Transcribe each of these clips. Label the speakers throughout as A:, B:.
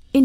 A: verscheen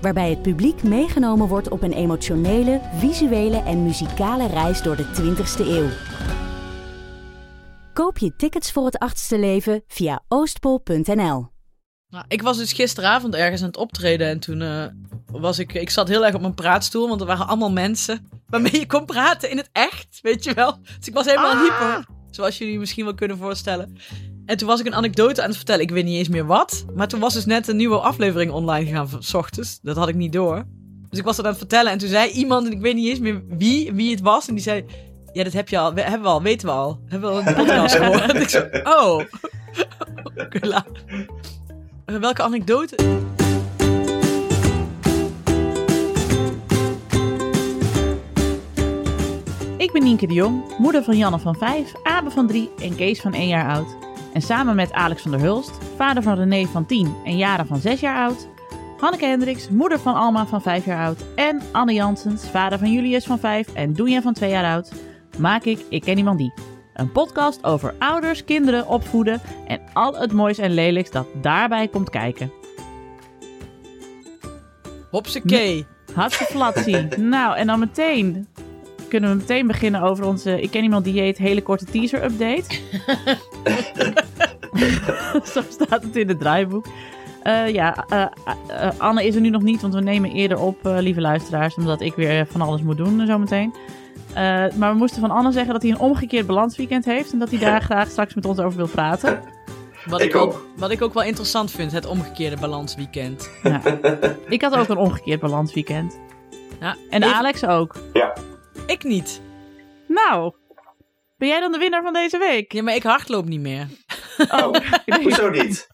A: Waarbij het publiek meegenomen wordt op een emotionele, visuele en muzikale reis door de 20ste eeuw. Koop je tickets voor het achtste leven via oostpol.nl.
B: Nou, ik was dus gisteravond ergens aan het optreden en toen eh, was ik, ik zat heel erg op mijn praatstoel, want er waren allemaal mensen waarmee je kon praten in het echt, weet je wel. Dus ik was helemaal hyper, zoals jullie misschien wel kunnen voorstellen. En toen was ik een anekdote aan het vertellen, ik weet niet eens meer wat, maar toen was dus net een nieuwe aflevering online gegaan van 's ochtends, dat had ik niet door. Dus ik was dat aan het vertellen en toen zei iemand, en ik weet niet eens meer wie, wie het was, en die zei, ja dat heb je al, we- hebben we al, weten we al, hebben we al in de podcast gehoord. En ik zo, oh, oké, laat. Eh, Welke anekdote?
C: Ik ben Nienke de Jong, moeder van Janne van 5, Abe van 3 en Kees van 1 jaar oud. En samen met Alex van der Hulst, vader van René van 10 en Jara van 6 jaar oud. Hanneke Hendricks, moeder van Alma van 5 jaar oud. En Anne Jansens, vader van Julius van 5 en Doenja van 2 jaar oud. Maak ik Ik Ken Iemand Die. Een podcast over ouders, kinderen, opvoeden en al het moois en lelijks dat daarbij komt kijken.
B: Hopsakee.
C: Hatseflatsie. nou, en dan meteen kunnen we meteen beginnen over onze Ik Ken Iemand Dieet hele korte teaser update. Zo staat het in het draaiboek. Eh, ja, eh, eh, eh, Anne is er nu nog niet, want we nemen eerder op, eh, lieve luisteraars, omdat ik weer van alles moet doen eh, zometeen. Eh, maar we moesten van Anne zeggen dat hij een omgekeerd balansweekend heeft en dat hij daar graag straks met ons over wil praten.
B: Wat
D: Ik
B: ik, ook.
D: ook.
B: wat ik ook wel interessant vind, het omgekeerde balansweekend.
C: Ja. Ik had ook een omgekeerd balansweekend.
B: Ja,
C: En
B: ik-
C: Alex ook.
D: Ja,
B: Ik niet.
C: Nou, ben jij dan de winnaar van deze week?
B: Ja, maar ik hardloop niet meer.
D: oh, hoezo niet?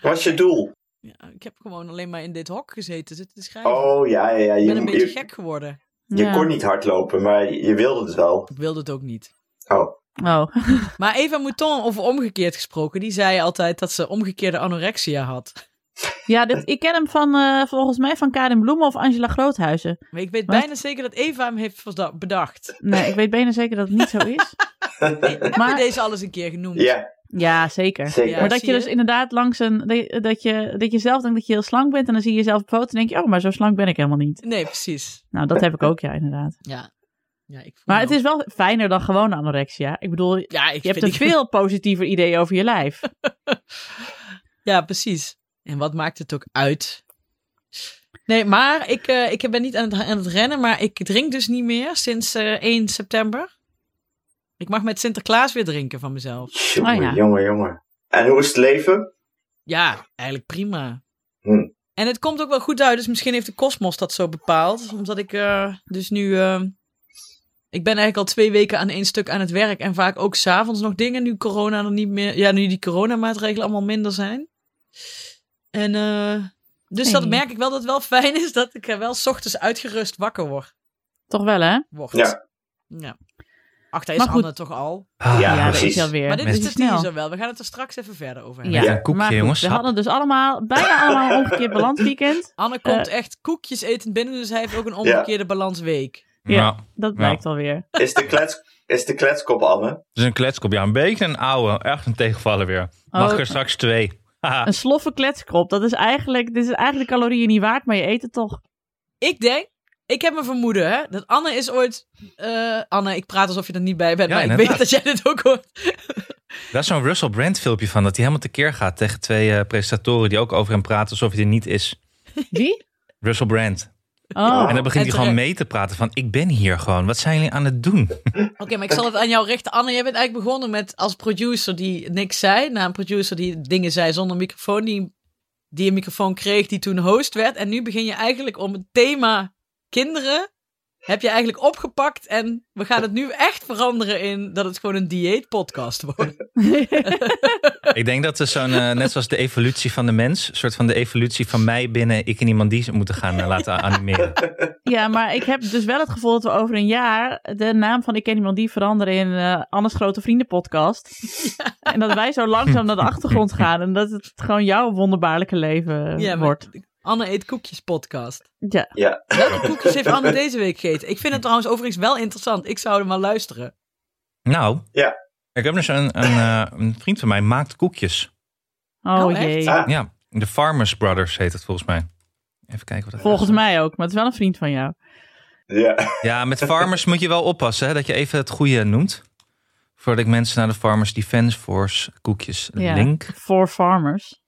D: Wat is je doel?
B: Ja, ik heb gewoon alleen maar in dit hok gezeten zitten te schrijven.
D: Oh ja, ja, ja.
B: ik
D: Je,
B: ben een beetje
D: je,
B: gek geworden.
D: je
C: Ja.
D: kon niet hardlopen, maar je wilde het wel.
B: Ik wilde het ook niet.
D: Oh,
C: Oh,
B: Maar Eva Mouton, over omgekeerd gesproken, die zei altijd dat ze omgekeerde anorexia had.
C: ja, dit, ik ken hem van, eh, volgens mij van Karin Bloemen of Angela Groothuizen.
B: Maar ik weet
C: Wat?
B: bijna zeker dat Eva hem heeft verda- bedacht.
C: Nee, ik weet bijna zeker dat het niet zo is.
B: Maar
C: Maar
B: deze alles een keer genoemd.
D: ja,
C: ja, zeker.
D: zeker.
C: Maar dat
B: zie
C: je
B: je.
C: dus inderdaad langs een. dat- Dat je, dat je zelf denkt dat je heel slank bent. En dan zie je jezelf op foto. En denk je, oh, maar zo slank ben ik helemaal niet.
B: Nee, precies.
C: Nou, dat heb ik ook, ja, inderdaad.
B: Ja. ja ik voel
C: Maar
B: me
C: het is wel fijner dan gewoon anorexia. Ik bedoel, je
B: ook- Ja, ik
C: hebt
B: vind
C: een
B: ik-
C: veel positiever idee over je lijf.
B: Ja, precies. En wat maakt het ook uit? Nee, maar ik, eh, ik ben niet aan het, aan het rennen, maar ik drink dus niet meer sinds eh, 1 september. Ik mag met Sinterklaas weer drinken van mezelf.
D: Jongen,
C: Oh, ja.
D: jongen, jongen. En hoe is het leven?
B: Ja, eigenlijk prima.
D: Hm.
B: En het komt ook wel goed uit, dus misschien heeft de kosmos dat zo bepaald. Omdat ik eh, dus nu... eh, ik ben eigenlijk al twee weken aan één stuk aan het werk. En vaak ook s'avonds nog dingen, nu corona nog niet meer... Ja, nu die coronamaatregelen allemaal minder zijn. En eh, dus dat
C: Hey.
B: merk ik wel dat het wel fijn is dat ik er wel 's ochtends uitgerust wakker wor-
C: Toch wel, hè?
B: word.
D: Ja.
B: ja. Ach, daar is
C: Maar goed.
B: Anne toch al.
E: Ah,
C: Ja,
D: Ja,
C: dat
D: precies.
C: is alweer.
B: Maar dit is dus
C: Te
B: de teaser wel. We gaan het er straks even verder over hebben.
C: Ja,
D: Met
E: een koekje,
C: maar goed,
E: jongens.
C: We hadden dus allemaal, bijna allemaal een omgekeerd balansweekend.
B: Anne komt echt koekjes eten binnen, dus hij heeft ook een omgekeerde balansweek.
C: Ja.
E: Ja.
C: Dat blijkt alweer.
D: Is de, klets, is de kletskop, Anne?
E: Dus een kletskop. Ja, een beetje een oude. Echt een tegenvaller weer. Mag
C: Oh.
E: er straks twee. Haha.
C: Een sloffe kletskrop, dat is eigenlijk, dit is eigenlijk calorieën niet waard, maar je eet het toch.
B: Ik denk, ik heb een vermoeden, hè, dat Anne is ooit... eh, Anne, ik praat alsof je er niet bij bent,
E: Ja,
B: maar ik weet
E: inderdaad.
B: dat jij dit ook hoort.
E: Daar is zo'n Russell Brand filmpje van. Dat hij helemaal tekeer gaat tegen twee eh, presentatoren die ook over hem praten alsof hij er niet is.
C: Wie?
E: Russell Brand.
C: Oh,
E: En dan begint
B: En
E: hij gewoon
B: terecht.
E: mee te praten van ik ben hier gewoon. Wat zijn jullie aan het doen?
B: Oké, maar ik zal het aan jou richten. Anne, jij bent eigenlijk begonnen met als producer die niks zei. Na een producer die dingen zei zonder microfoon. Die, die een microfoon kreeg, die toen host werd. En nu begin je eigenlijk om het thema kinderen heb je eigenlijk opgepakt. En we gaan het nu echt veranderen in dat het gewoon een dieetpodcast wordt.
E: Ik denk dat we zo'n, eh, net zoals de evolutie van de mens, een soort van de evolutie van mij binnen ik en iemand die ze moeten gaan eh, laten animeren.
C: Ja, maar ik heb dus wel het gevoel dat we over een jaar de naam van Ik Ken Iemand Die veranderen in eh Anne's Grote Vrienden podcast. En dat wij zo langzaam naar de achtergrond gaan en dat het gewoon jouw wonderbaarlijke leven eh,
B: Ja, maar-
C: wordt.
B: Anne eet koekjes podcast.
C: Ja.
D: Ja.
B: Welke koekjes heeft Anne deze week gegeten? Ik vind het trouwens overigens wel interessant. Ik zou er maar luisteren.
E: Nou,
D: Ja.
E: ik heb dus een, een, eh, een vriend van mij maakt koekjes.
C: Oh,
B: Oh, echt?
C: jee.
D: Ah,
E: Ja, de Farmers Brothers heet het volgens mij. Even kijken wat dat
C: Volgens mij ook, maar het is wel een vriend van jou.
D: ja.
E: Ja, met farmers moet je wel oppassen hè, dat je even het goede noemt. Voordat ik mensen naar de Farmers Defense Force koekjes
C: Ja.
E: link.
C: For Farmers.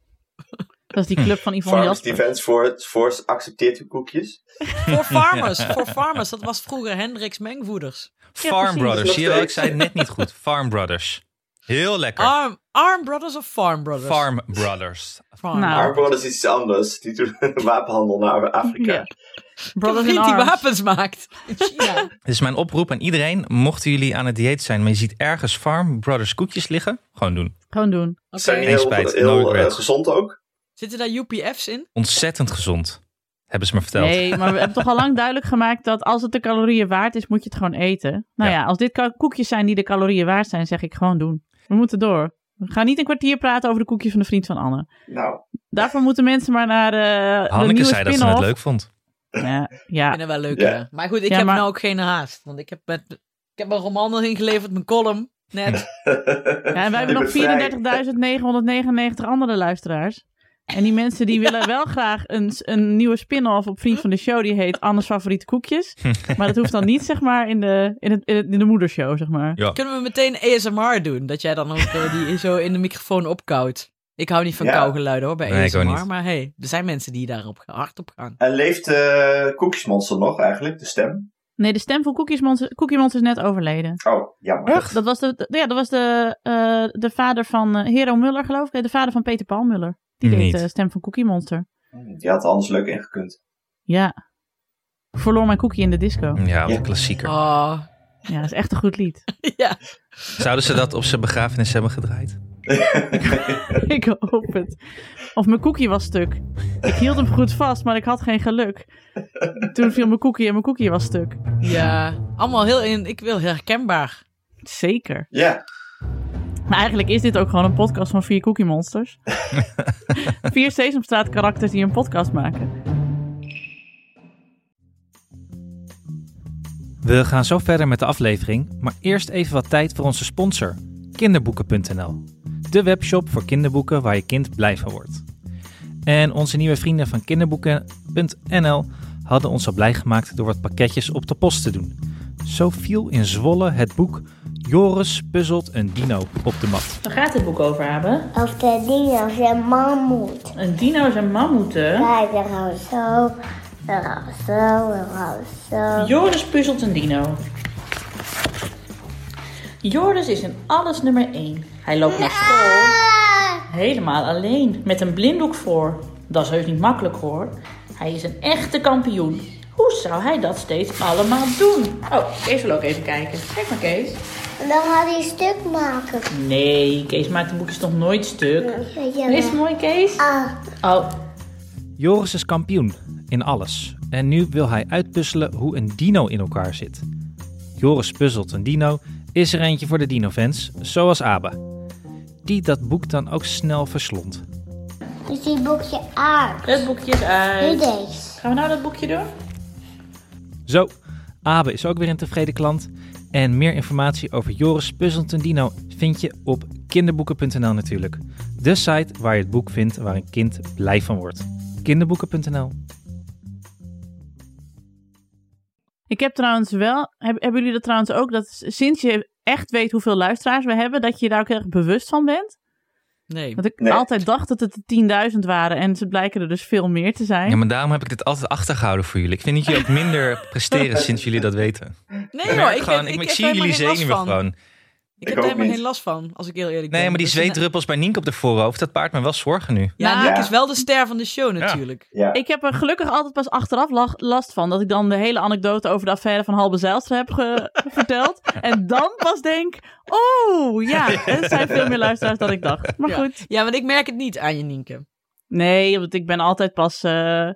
C: Dat is die club van Yvonne
D: Farmers
C: Jasper.
D: Defense Force, Force accepteert uw koekjes.
B: Voor farmers. Voor farmers. Dat was vroeger Hendricks Mengvoeders.
E: Farm
C: precies.
E: Brothers,
D: Nog
E: zie je wel, ik
D: steeds.
E: zei het net niet goed. Farm Brothers. Heel lekker.
B: Arm, arm Brothers of Farm Brothers?
E: Farm Brothers.
B: Farm.
C: Nou.
D: Maar Brothers is iets anders. Die doen wapenhandel naar Afrika.
C: Ja.
B: Een
C: Brothers in
B: vriend die
C: Arms.
B: wapens maakt. In China.
E: Dit is mijn oproep aan iedereen. Mochten jullie aan het dieet zijn, maar je ziet ergens Farm Brothers koekjes liggen, gewoon doen.
C: Gewoon doen.
D: Ze Zijn
B: Oké.
D: die
E: Geen
D: heel,
E: spijt, no
D: heel eh,
E: regrets.
D: gezond ook?
B: Zitten daar UPF's in?
E: Ontzettend gezond, hebben ze me verteld.
C: Nee, maar we hebben toch al lang duidelijk gemaakt dat als het de calorieën waard is, moet je het gewoon eten. Nou ja,
E: Ja.
C: als dit ka- koekjes zijn die de calorieën waard zijn, zeg ik gewoon doen. We moeten door. We gaan niet een kwartier praten over de koekjes van de vriend van Anne.
D: Nou,
C: Daarvoor moeten mensen maar naar eh de
E: Hanneke
C: nieuwe
E: zei dat ze het
C: spin-off.
E: leuk vond.
C: Ja,
B: Ik
C: ja.
B: vind het wel leuk,
D: Ja.
B: ja. Maar goed, ik
C: Ja,
B: heb
C: maar-
B: nou ook geen haast. Want ik heb, met, ik heb mijn roman al ingeleverd, mijn column. Net.
C: Ja, en wij hebben
D: Ik ben
C: nog 34.999 andere luisteraars. En die mensen die willen wel graag een, een nieuwe spin-off op Vriend van de Show. Die heet Anne's Favoriete Koekjes. Maar dat hoeft dan niet, zeg maar, in de, in het, in het- in de moedershow, zeg maar.
E: Ja.
B: Kunnen we meteen ASMR doen? Dat jij dan ook eh, die zo in de microfoon opkoudt. Ik hou niet van
D: Ja.
B: kauwgeluiden hoor, bij
E: Nee, ik ook
B: ASMR.
E: niet.
B: Maar hey, er zijn mensen die daarop hard op gaan.
D: En leeft eh Koekjesmonster nog eigenlijk, de stem?
C: Nee, de stem voor Cookie Monster, Cookie Monster is net overleden.
D: Oh, jammer.
C: Dat was de, de- ja, dat was de, eh, de vader van eh, Hero Muller, geloof ik. Nee, De vader van Peter Paul Muller. Die deed
E: Niet.
C: de stem van Cookie Monster.
D: Hmm, Die had er anders leuk ingekund.
C: Ja. Ik Verloor mijn cookie in de disco.
E: Ja, wat
D: Ja.
E: een klassieker.
B: Oh,
C: Ja, dat is echt een goed lied.
B: ja.
E: Zouden ze dat op zijn begrafenis hebben gedraaid?
C: Ik hoop het. Of mijn cookie was stuk. Ik hield hem goed vast, maar ik had geen geluk. Toen viel mijn cookie en mijn cookie was stuk.
B: ja. Allemaal heel in, ik wil herkenbaar.
C: Zeker.
D: Ja,
C: Maar eigenlijk is dit ook gewoon een podcast van vier cookie monsters. vier Sesamstraat karakters die een podcast maken.
F: We gaan zo verder met de aflevering, maar eerst even wat tijd voor onze sponsor, kinderboeken.nl. De webshop voor kinderboeken waar je kind blij van wordt. En onze nieuwe vrienden van kinderboeken.nl hadden ons al blij gemaakt door wat pakketjes op de post te doen. Zo viel in Zwolle het boek Joris puzzelt een dino op de mat.
C: Waar gaat het boek over hebben?
G: Of de dino zijn mammoet.
C: Een dino's en mammoeten.
G: Hij er al zo, er al zo, er al zo.
C: Joris puzzelt een dino. Joris is in alles nummer 1. Hij loopt naar school. Helemaal alleen, met een blinddoek voor. Dat is heus niet makkelijk hoor. Hij is een echte kampioen. Hoe zou hij dat steeds allemaal doen? Oh, Kees wil ook even kijken. Kijk maar Kees.
G: En dan gaat hij stuk maken.
C: Nee, Kees maakt de boekjes nog nooit stuk.
G: Weet je
C: Is het
G: wel.
C: mooi Kees?
G: Ah,
C: Oh,
F: Joris is kampioen in alles en nu wil hij uitpuzzelen hoe een dino in elkaar zit. Joris puzzelt een dino is er eentje voor de dinofans, zoals Abe, die dat boek dan ook snel verslond.
G: dus die boekje aard.
C: het boekje is
G: Nu
C: uit.
G: deze.
C: Gaan we nou dat boekje doen?
F: Zo, Abe is ook weer een tevreden klant en meer informatie over Joris puzzelt een dino vind je op kinderboeken.nl natuurlijk. De site waar je het boek vindt waar een kind blij van wordt. kinderboeken.nl
C: Ik heb trouwens wel, heb- hebben jullie dat trouwens ook, dat sinds je echt weet hoeveel luisteraars we hebben, dat je je daar ook echt bewust van bent?
B: Nee.
C: Want ik
D: Nee.
C: altijd dacht dat het er 10.000 waren en ze blijken er dus veel meer te zijn.
E: Ja, maar daarom heb ik dit altijd achtergehouden voor jullie. Ik vind dat jullie ook minder presteren sinds jullie dat weten.
B: Nee
E: Ik
B: hoor,
E: merk
B: ik,
E: gewoon,
B: ben-
E: ik, ik
B: heb
E: zie
B: helemaal
E: jullie
B: geen last
E: zenuwen
B: van.
E: gewoon.
B: Ik
D: Ik
B: heb er
D: ook
B: helemaal
D: niet.
B: geen last van, als ik heel eerlijk ben.
E: Nee, maar die
B: Dat is een-
E: zweetdruppels bij Nienke op de voorhoofd, dat baart me wel zorgen nu.
B: Ja,
C: Nou,
B: Nick
D: ja.
B: is wel de ster van de show natuurlijk.
D: Ja.
C: Ik heb er gelukkig altijd pas achteraf la- last van. Dat ik dan de hele anekdote over de affaire van Halbe Zijlstra heb ge- verteld. En dan pas denk, oeh, ja, er zijn veel meer luisteraars dan ik dacht. Maar
B: Ja.
C: goed.
B: Ja, want ik merk het niet aan je Nienke.
C: Nee, want ik ben altijd pas eh,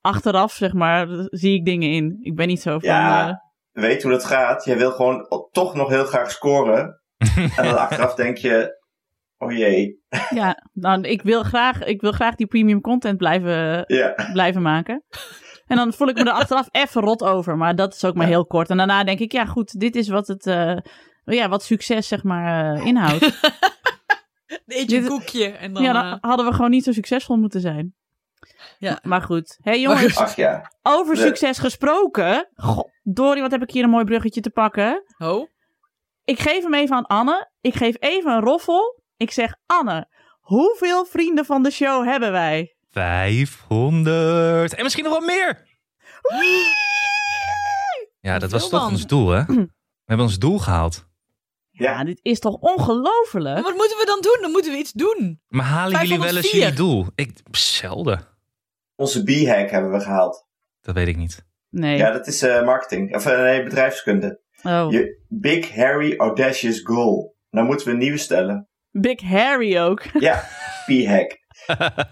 C: achteraf, zeg maar, zie ik dingen in. Ik ben niet zo van...
D: Ja.
C: eh,
D: Weet hoe dat gaat. Jij wil gewoon toch nog heel graag scoren. en dan achteraf denk je, oh jee.
C: ja. Nou, ik, wil graag, ik wil graag die premium content blijven,
D: Ja,
C: blijven maken. En dan voel ik me er achteraf even rot over. Maar dat is ook maar
D: Ja.
C: heel kort. En daarna denk ik, ja goed, dit is wat het... eh, ja, wat succes zeg maar eh, inhoudt.
B: Eet je een
C: Dit-
B: koekje en dan...
C: ja,
B: eh,
C: dan hadden we gewoon niet zo succesvol moeten zijn.
B: Ja.
C: Maar goed. Hé hey, jongens,
D: ach ja.
C: over
D: we-
C: succes gesproken. Goh, Dorie, wat heb ik hier een mooi bruggetje te pakken.
B: ho.
C: Ik geef hem even aan Anne. Ik geef even een roffel. Ik zeg, Anne, hoeveel vrienden van de show hebben wij?
E: 500. En misschien nog wel meer. Ja, dat was
B: Veel
E: toch
B: dan.
E: ons doel, hè? We hebben ons doel gehaald.
C: Ja,
D: Ja,
C: dit is toch ongelofelijk?
B: Maar Wat moeten we dan doen? Dan moeten we iets doen.
E: Maar halen jullie wel eens
B: 504?
E: jullie doel? Ik, zelden.
D: onze B-hack hebben we gehaald.
E: Dat weet ik niet.
C: Nee.
D: Ja, dat is eh, marketing. Of eh, nee, bedrijfskunde.
C: Oh.
D: Je, Big Harry Audacious Goal. Dan moeten we een nieuwe stellen.
C: Big Harry ook.
D: Ja, B-hack.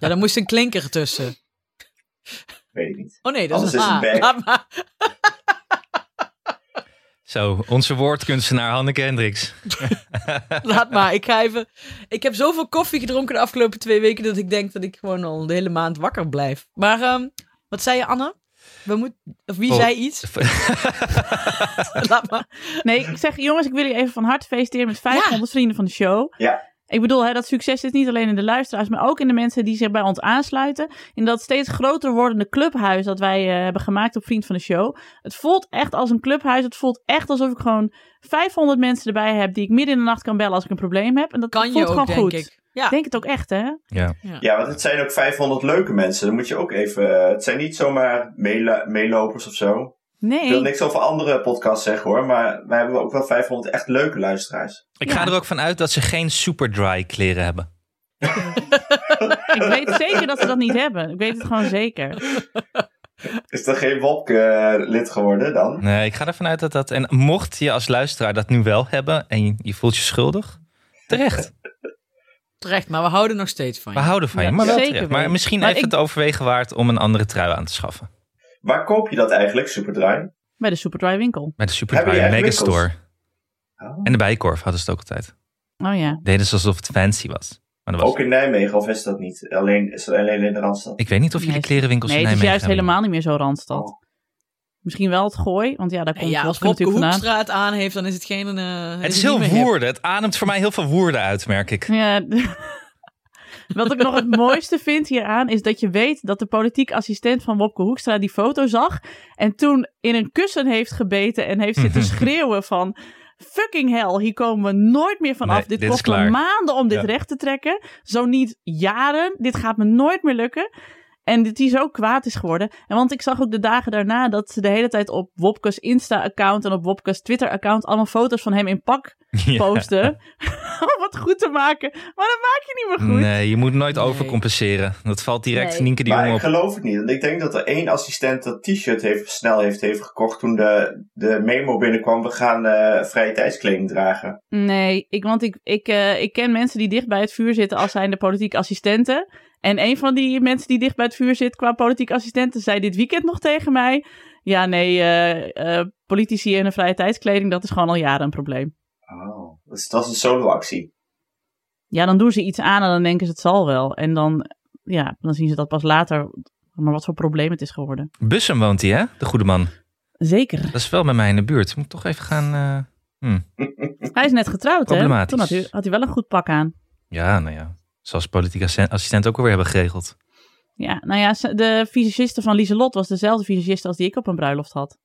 B: Ja, dan moest een klinker tussen.
D: Weet ik niet.
B: Oh nee, dat
D: Anders
B: is een
D: is
B: A.
D: het een
B: Laat maar.
E: Zo, onze woordkunstenaar Hanneke Hendricks.
B: Laat maar, ik ga even... Ik heb zoveel koffie gedronken de afgelopen twee weken... dat ik denk dat ik gewoon al de hele maand wakker blijf. Maar ehm, wat zei je, Anne? We moet... Of wie
E: Oh.
B: zei iets? Laat maar.
C: Nee, ik zeg, jongens, ik wil jullie even van harte feliciteren met 500 vrienden van de show.
D: Ja.
C: Ik bedoel, hè, dat succes zit niet alleen in de luisteraars, maar ook in de mensen die zich bij ons aansluiten. In dat steeds groter wordende clubhuis dat wij eh, hebben gemaakt op Vriend van de Show. Het voelt echt als een clubhuis. Het voelt echt alsof ik gewoon 500 mensen erbij heb die ik midden in de nacht kan bellen als ik een probleem heb. En dat
B: Kan
C: voelt
B: je ook,
C: gewoon
B: denk
C: goed.
B: ik. Ja.
C: denk het ook echt, hè?
E: ja.
D: Ja, want het zijn ook 500 leuke mensen. Dan moet je ook even... eh, het zijn niet zomaar meela- meelopers of zo. Ik wil
C: Nee.
D: niks over andere podcasts zeggen hoor. Maar wij hebben ook wel 500 echt leuke luisteraars.
E: Ik ga er ook van uit dat ze geen super dry kleren hebben.
C: Ik weet zeker dat ze dat niet hebben. Ik weet het gewoon zeker.
D: Is er geen Wopke eh, lid geworden dan?
E: Nee, ik ga ervan uit dat dat... En mocht je als luisteraar dat nu wel hebben en je, je voelt je schuldig, terecht.
B: Terecht, maar we houden nog steeds van
E: We
B: je.
E: houden van je,
C: Ja,
E: maar wel
C: zeker
E: terecht.
C: wel.
E: Maar misschien
C: Maar
E: even
C: ik-
E: het overwegen waard om een andere trui aan te schaffen.
D: Waar koop je dat eigenlijk, Superdry?
C: Bij de Superdry winkel.
E: Bij de Superdry
D: Hebben die echt
E: Megastore.
D: Oh.
E: En de Bijenkorf hadden ze het ook altijd.
C: Oh ja.
E: Deden ze alsof het fancy was. Maar dat was
D: Ook in Nijmegen of is dat niet? Alleen, is dat alleen in de Randstad?
E: Ik weet niet of
C: Nee,
E: jullie
C: het-
E: klerenwinkels
C: Nee,
E: in
C: het is
E: Nijmegen
C: juist
E: hebben.
C: helemaal niet meer zo Randstad.
D: Oh.
C: Misschien wel het gooi, want ja, daar komt
B: Ja,
C: wel
B: als
C: natuurlijk
B: Bobke
C: vandaan.
B: Hoekstraat aan heeft, dan is het geen... eh,
E: Het is
B: niet
E: heel
B: meer hip.
E: woerden. Het ademt voor mij heel veel woerden uit, merk ik.
C: Ja. Wat ik nog het mooiste vind hieraan is dat je weet dat de politiek assistent van Wopke Hoekstra die foto zag en toen in een kussen heeft gebeten en heeft zitten schreeuwen van fucking hell, hier komen we nooit meer vanaf.
E: Nee,
C: dit,
E: dit is
C: kost me
E: klaar."
C: maanden om dit
E: Ja.
C: recht te trekken, zo niet jaren. Dit gaat me nooit meer lukken. En dat hij zo kwaad is geworden. En want ik zag ook de dagen daarna dat ze de hele tijd op Wopkes Insta-account en op Wopkes Twitter-account allemaal foto's van hem in pak
E: Ja.
C: posten. om het goed te maken. Maar dat maak je niet meer goed.
E: Nee, je moet nooit
B: Nee.
E: overcompenseren. Dat valt direct
C: Nee.
E: Nienke die
D: Maar
E: jongen
D: ik
E: op.
D: geloof het niet. Want ik denk dat er één assistent dat t-shirt heeft, snel heeft, heeft gekocht toen de, de memo binnenkwam. We gaan eh, vrije tijdskleding dragen.
C: Nee, ik, want ik, ik, eh, ik ken mensen die dicht bij het vuur zitten als zijnde politiek assistenten. En een van die mensen die dicht bij het vuur zit qua politiek assistenten zei dit weekend nog tegen mij. Ja, nee, eh, eh, politici in een vrije tijdskleding, dat is gewoon al jaren een probleem.
D: Oh. Dus dat is een solo-actie.
C: Ja, dan doen ze iets aan en dan denken ze het zal wel. En dan, ja, dan zien ze dat pas later, maar wat voor probleem het is geworden.
E: Bussum woont hij, hè? De goede man.
C: Zeker.
E: Dat is wel bij mij in de buurt. Moet ik toch even gaan... eh,
C: Hij is net getrouwd, hè?
E: Problematisch.
C: Toen had hij, had hij wel een goed pak aan.
E: Ja, nou ja. Zoals politiek assen- assistent ook alweer hebben geregeld.
C: Ja, nou ja, ze- de visagiste van Lieselot was dezelfde visagiste als die ik op een bruiloft had.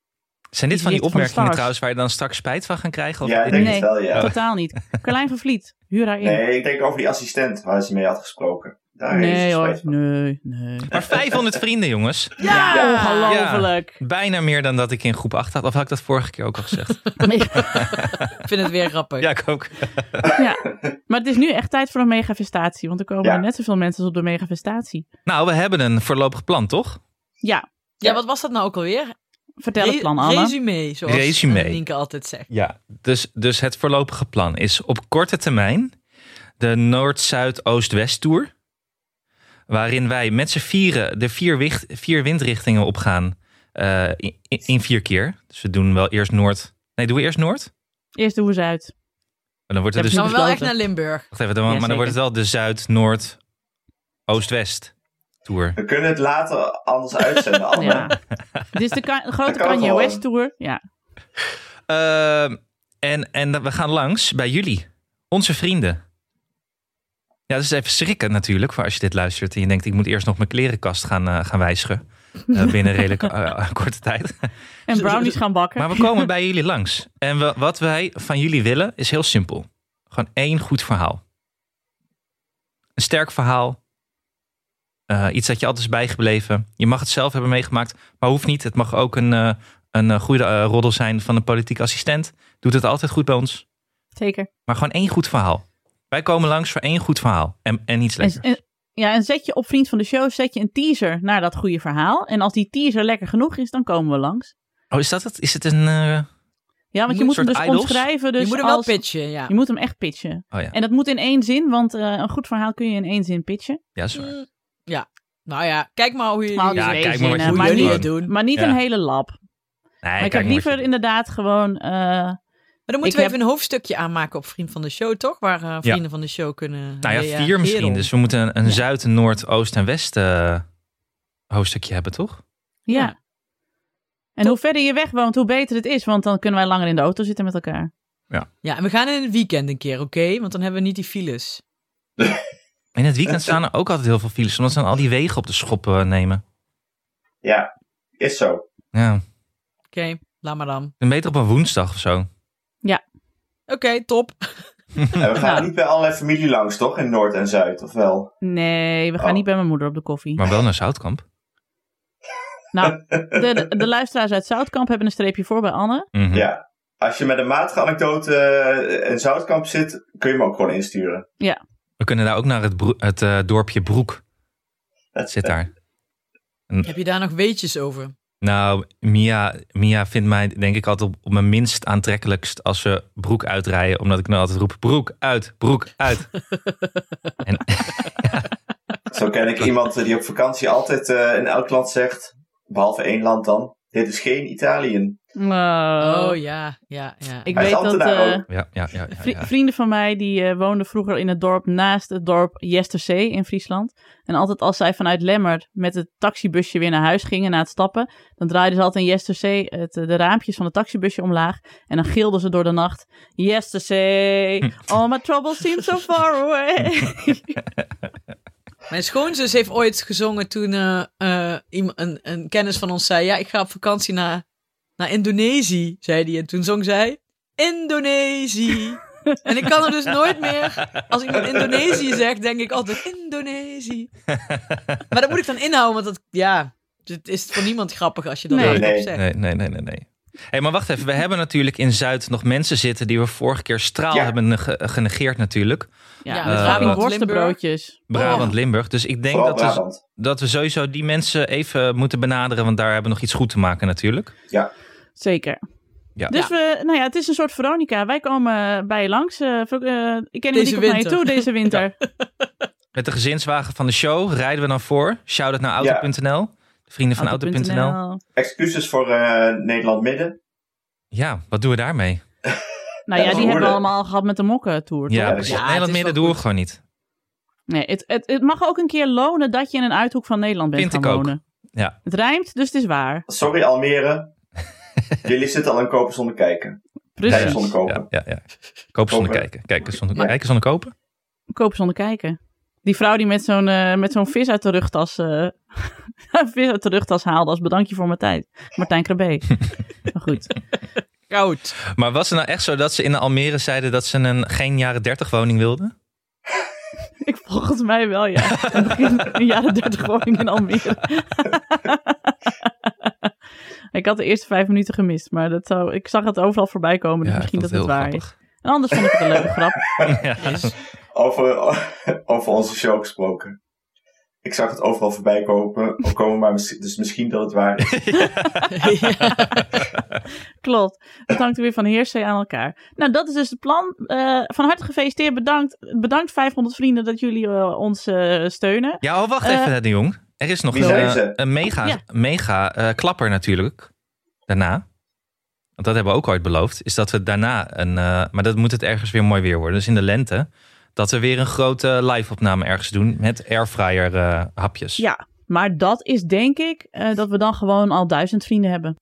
E: Zijn dit
C: Die
E: van
C: ligt van
E: die
C: de
E: opmerkingen
C: stars.
E: trouwens waar je dan straks spijt van gaan krijgen? Of
D: ja, ik
E: dit
D: denk
E: niet?
C: Nee.
D: het wel, ja.
E: Oh,
C: Totaal niet. Carlijn van Vliet, huur haar in.
D: Nee, ik denk over die assistent waar ze mee had gesproken. Daar heeft
C: Nee
D: het
C: hoor,
D: spijt van.
C: nee, nee.
E: Maar 500 vrienden, jongens.
D: Ah.
C: Ja, ongelooflijk.
E: Bijna meer dan dat ik in groep 8 had. Of had ik dat vorige keer ook al gezegd?
B: Ik vind het weer grappig.
E: ja, ik ook.
C: Ja. Maar het is nu echt tijd voor een megafestatie, want er komen
D: Ja.
C: net zoveel mensen als op de megafestatie.
E: Nou, we hebben een voorlopig plan, toch?
C: Ja,
B: Ja, wat was dat nou ook alweer?
C: vertel het
B: Re-
C: plan, Anne.
B: Resume, zoals
E: Resume.
B: eh, Nienke altijd zegt.
E: Ja. Dus, dus het voorlopige plan is op korte termijn de Noord-Zuid-Oost-West-tour. Waarin wij met z'n vieren de vier, wicht- vier windrichtingen opgaan eh, in, in vier keer. Dus we doen wel eerst Noord. Nee, doen we eerst Noord?
C: Eerst doen we ze uit.
E: Dan wordt het
C: Ja,
E: dus
B: Dan
C: precies.
B: wel
C: besloten.
B: echt naar Limburg.
E: Wacht even, dan, maar dan wordt het wel de Zuid, Noord, Oost, West tour.
D: We kunnen het later anders uitzenden, Anne.
C: Ja. Dit is de ka- grote
D: Dat kan
C: Kanye
D: gewoon.
C: West Tour. Ja.
E: Ehm, en, en dat- we gaan langs bij jullie, onze vrienden. Ja, dat is even schrikken natuurlijk voor als je dit luistert en je denkt ik moet eerst nog mijn klerenkast gaan, eh, gaan wijzigen. eh, binnen redelijk eh, korte tijd.
C: En brownies gaan bakken.
E: Maar we komen bij jullie langs. En we- wat wij van jullie willen is heel simpel. Gewoon één goed verhaal. Een sterk verhaal. Eh, iets dat je altijd is bijgebleven. Je mag het zelf hebben meegemaakt, maar hoeft niet. Het mag ook een, eh, een eh, goede eh, roddel zijn van een politiek assistent. Doet het altijd goed bij ons.
C: Zeker.
E: Maar gewoon één goed verhaal. Wij komen langs voor één goed verhaal. En, en iets
C: En,
E: lekkers.
C: en- ja, en zet je op Vriend van de Show zet je een teaser naar dat goede verhaal. En als die teaser lekker genoeg is, dan komen we langs.
E: Oh, is dat het? Is het een... eh,
C: Ja, want je
E: Een
C: moet hem
E: soort
C: dus
E: idols?
C: omschrijven. Dus
B: je moet hem wel
C: als-
B: pitchen, ja.
C: Je moet hem echt pitchen.
E: Oh ja.
C: En dat moet in één zin, want eh, een goed verhaal kun je in één zin pitchen.
E: Ja, sorry.
B: Mm, ja. Nou ja, kijk maar hoe jullie,
C: Maar
E: Ja,
C: dus
E: kijk
C: één zin,
E: maar wat je
C: hè,
B: hoe
E: moet
C: maar
B: jullie
E: doen.
B: het
C: niet,
B: doen. Maar
C: maar niet
E: Ja.
C: een hele lab.
E: Nee,
C: Maar ik
E: kijk
C: had
E: maar wat
C: liever
E: je-
C: inderdaad gewoon... eh,
B: dan
C: Ik
B: moeten we
C: heb-
B: even een hoofdstukje aanmaken op Vriend van de Show, toch? Waar eh, vrienden van de show kunnen eh,
E: Nou ja,
B: reageren.
E: vier misschien. Dus we moeten een, een Zuid, een Noord, Oost en West eh, hoofdstukje hebben, toch?
C: ja.
B: Ja.
C: En hoe verder je weg woont, hoe beter het is. Want dan kunnen wij langer in de auto zitten met elkaar.
B: Ja, en we gaan in het weekend een keer, oké? Want dan hebben we niet die files.
E: In het weekend staan er ook altijd heel veel files, omdat ze dan al die wegen op de schop eh, nemen.
D: Ja, is zo.
E: Ja,
B: Oké, laat maar dan.
E: dan beter op een woensdag of zo.
B: Oké, top.
D: En we gaan
C: Nou.
D: niet bij allerlei familie langs, toch? In Noord en Zuid, of wel?
C: Nee, we gaan
D: Oh.
C: niet bij mijn moeder op de koffie.
E: Maar wel naar Zoutkamp.
C: Nou, de, de, de luisteraars uit Zoutkamp hebben een streepje voor bij Anne.
E: Mhm.
D: Ja. Als je met een matige anekdote eh, in Zoutkamp zit, kun je me ook gewoon insturen.
E: We kunnen daar ook naar het, broe- het eh, dorpje Broek. Dat zit daar.
B: Heb je daar nog weetjes over?
E: Nou, Mia, Mia vindt mij denk ik altijd op, op mijn minst aantrekkelijkst als we broek uitrijden. Omdat ik nou altijd roep, broek uit, broek uit. en,
D: Zo ken ik iemand eh, die op vakantie altijd eh, in elk land zegt, behalve één land dan, dit is geen Italië.
B: Oh,
E: Eh,
C: Oh,
B: ja, ja, ja.
C: Ik
D: Hij is
C: weet dat
D: ambtenaar
C: eh,
D: ook.
E: ja, ja, ja, ja,
C: vri-
E: ja.
C: vrienden van mij die eh, woonden vroeger in het dorp naast het dorp Jesterzee in Friesland. En altijd als zij vanuit Lemmer met het taxibusje weer naar huis gingen na het stappen, dan draaiden ze altijd in Jesterzee het, eh, de raampjes van het taxibusje omlaag. En dan gilden ze door de nacht: Jesterzee, all my troubles seem so far away.
B: Mijn schoonzus heeft ooit gezongen toen eh, eh, iem- een, een kennis van ons zei: Ja, ik ga op vakantie naar, naar Indonesië, zei die. En toen zong zij: Indonesië. en ik kan er dus nooit meer, als iemand Indonesië zegt, denk ik altijd: Indonesië. maar dat moet ik dan inhouden, want dat, ja, het is voor niemand grappig als je dat
C: Nee.
B: hardop
D: Nee.
B: zegt.
E: Nee, nee, nee, nee. nee. hey, maar wacht even. We hebben natuurlijk in Zuid nog mensen zitten die we vorige keer straal
D: Ja.
E: hebben nege- genegeerd natuurlijk.
C: ja,
B: Ja,
C: met
E: eh,
C: Rabin
E: Limburg.
C: worstenbroodjes.
E: Brabant-Limburg. Dus ik denk
D: Oh. Vooral
E: dat we,
D: Brabant.
E: dat we sowieso die mensen even moeten benaderen. Want daar hebben we nog iets goed te maken natuurlijk.
C: Zeker.
E: Ja.
C: Dus
B: Ja.
C: we, nou ja, het is een soort Veronica. Wij komen eh, bij je langs. eh, ver- eh, ik ken jullie
B: Deze
C: komt naar je
B: winter.
C: toe deze winter.
E: Met de gezinswagen van de show rijden we dan voor. Shout-out naar
D: Ja.
E: auto.nl. De vrienden van auto.nl.
D: Excuses voor eh, Nederland Midden.
E: Ja, wat doen we daarmee?
C: Nou ja,
D: Ja,
C: die
D: dat
C: hebben we
D: hoorde.
C: allemaal gehad met de mokken tour.
E: Ja,
D: Ja,
E: precies.
B: het is
E: Nederland
B: wel
E: midden doen we
B: goed.
E: gewoon niet.
C: Nee, het, het, het mag ook een keer lonen dat je in een uithoek van Nederland bent
E: Vind
C: gaan
E: ik ook.
C: wonen.
E: Ja.
C: Het rijmt, dus het is waar.
D: Sorry Almere. Jullie zitten al in kopen zonder kijken.
C: Precies.
D: Kijken zonder kopen.
E: Ja, ja, ja. Kopen zonder
D: Kopen.
E: kijken. Kijken zonder,
D: Ja.
E: kijken zonder kopen.
C: Kopen zonder kijken. Die vrouw die met zo'n eh, met zo'n vis uit de rugtas, eh, vis uit de rugtas haalde als bedankje voor mijn tijd. Martijn Krabbe. maar goed.
B: Koud.
E: Maar was het nou echt zo dat ze in Almere zeiden dat ze een geen jaren 30 woning wilden?
C: Ik volgens mij wel, ja. Aan het begin van de jaren 30 woning in Almere. ik had de eerste vijf minuten gemist, maar dat zou, ik zag het overal voorbij komen, dus
E: Ja, ik
C: misschien dat
E: vond
C: het
E: heel
C: waar is.
E: grappig.
C: En anders vond ik het een leuke grap.
E: Ja.
D: Over, over onze show gesproken. Ik zag het overal voorbij komen, komen maar misschien- dus misschien dat het waar is.
C: Klopt. Het hangt er weer van heersee aan elkaar. Nou, dat is dus het plan. Eh, van harte gefeliciteerd. Bedankt, bedankt 500 vrienden dat jullie eh, ons eh, steunen.
E: Ja, oh, wacht
C: Eh,
E: even, de Jong. Er is nog
D: wie
E: een,
D: zijn
E: eh,
D: ze?
E: een mega,
C: Ja.
E: mega eh, klapper natuurlijk. Daarna. Want dat hebben we ook ooit beloofd. Is dat we daarna een. eh, maar dat moet het ergens weer mooi weer worden. Dus in de lente. Dat we weer een grote live-opname ergens doen. Met airfryer eh, hapjes.
C: Ja, maar dat is denk ik eh, dat we dan gewoon al duizend vrienden hebben.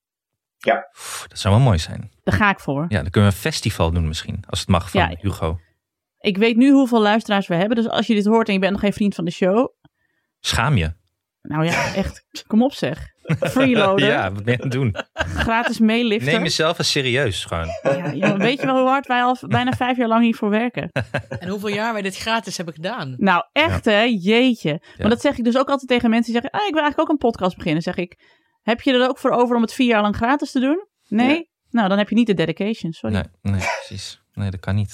E: Pff, dat zou wel mooi zijn.
C: Daar ga ik voor.
E: Ja, dan kunnen we een festival doen misschien. Als het mag van
C: Ja.
E: Hugo.
C: Ik weet nu hoeveel luisteraars we hebben. Dus als je dit hoort en je bent nog geen vriend van de show.
E: Schaam je.
C: Nou ja, echt. Kom op zeg. Freeloader.
E: Ja, wat ben je aan het doen?
C: Gratis meelifter.
E: Neem jezelf eens serieus gewoon.
C: Ja, jongen, weet je wel hoe hard wij al v- bijna vijf jaar lang hiervoor werken?
B: En hoeveel jaar wij dit gratis hebben gedaan.
C: Nou, echt hè? Jeetje.
E: Ja.
C: Maar dat zeg ik dus ook altijd tegen mensen die zeggen... Ah, ik wil eigenlijk ook een podcast beginnen. Zeg ik, heb je er ook voor over om het vier jaar lang gratis te doen? Nee? Nou, dan heb je niet de dedication, sorry.
E: Nee, nee, precies. Nee, dat kan niet.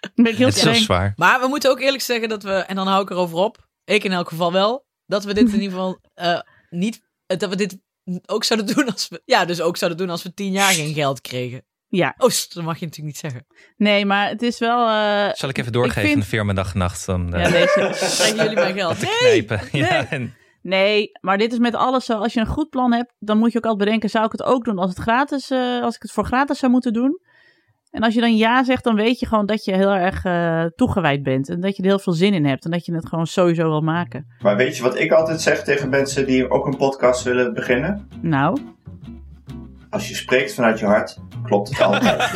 C: Dan ben ik heel
E: Het is zo
C: streng.
E: zwaar.
B: Maar we moeten ook eerlijk zeggen dat we, en dan hou ik erover op, ik in elk geval wel, dat we dit in ieder geval eh, niet, dat we dit ook zouden doen als we, ja, dus ook zouden doen als we tien jaar geen geld kregen.
C: Ja.
B: Oh, st, dat mag je natuurlijk niet zeggen.
C: Nee, maar het is wel... eh,
E: Zal ik even doorgeven
C: vind-
E: in de firma dag en nacht? Dan, eh,
C: ja, deze.
B: Krijgen jullie mijn geld? Nee!
E: knijpen. Ja, en,
C: Nee, maar dit is met alles zo. Als je een goed plan hebt, dan moet je ook altijd bedenken: zou ik het ook doen als, het gratis, eh, als ik het voor gratis zou moeten doen? En als je dan ja zegt, dan weet je gewoon dat je heel erg eh, toegewijd bent. En dat je er heel veel zin in hebt. En dat je het gewoon sowieso wil maken.
D: Maar weet je wat ik altijd zeg tegen mensen die ook een podcast willen beginnen?
C: Nou,
D: Als je spreekt vanuit je hart, klopt het altijd.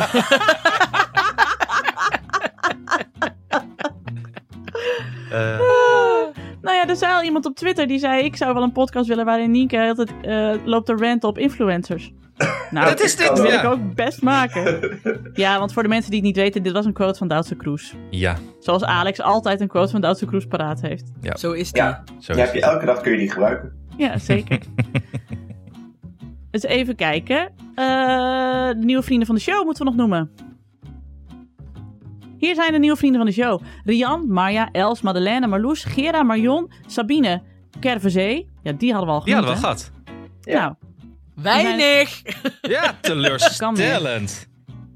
E: eh,
C: nou ja, er zei al iemand op Twitter die zei: Ik zou wel een podcast willen waarin Nienke altijd eh, loopt te ranten op influencers. Nou,
E: dat is dit.
C: dat wil ik
E: Ja.
C: ook best maken. Ja, want voor de mensen die het niet weten, dit was een quote van Duitse Kroes.
E: ja,
C: Zoals Alex altijd een quote van Duitse Kroes paraat heeft.
B: Zo is die.
D: ja,
E: zo
D: die
E: is
D: heb je,
E: het.
D: elke dag kun je die gebruiken.
C: Ja, zeker. dus even kijken. Eh, de nieuwe vrienden van de show moeten we nog noemen. Hier zijn de nieuwe vrienden van de show. Rian, Marja, Els, Madeleine, Marloes, Gera, Marion, Sabine, Kervezee. Ja, die hadden we al
E: Die
C: genoemd.
E: hadden we al gehad.
C: hè? Nou,
B: Weinig!
E: Ja, teleurstellend.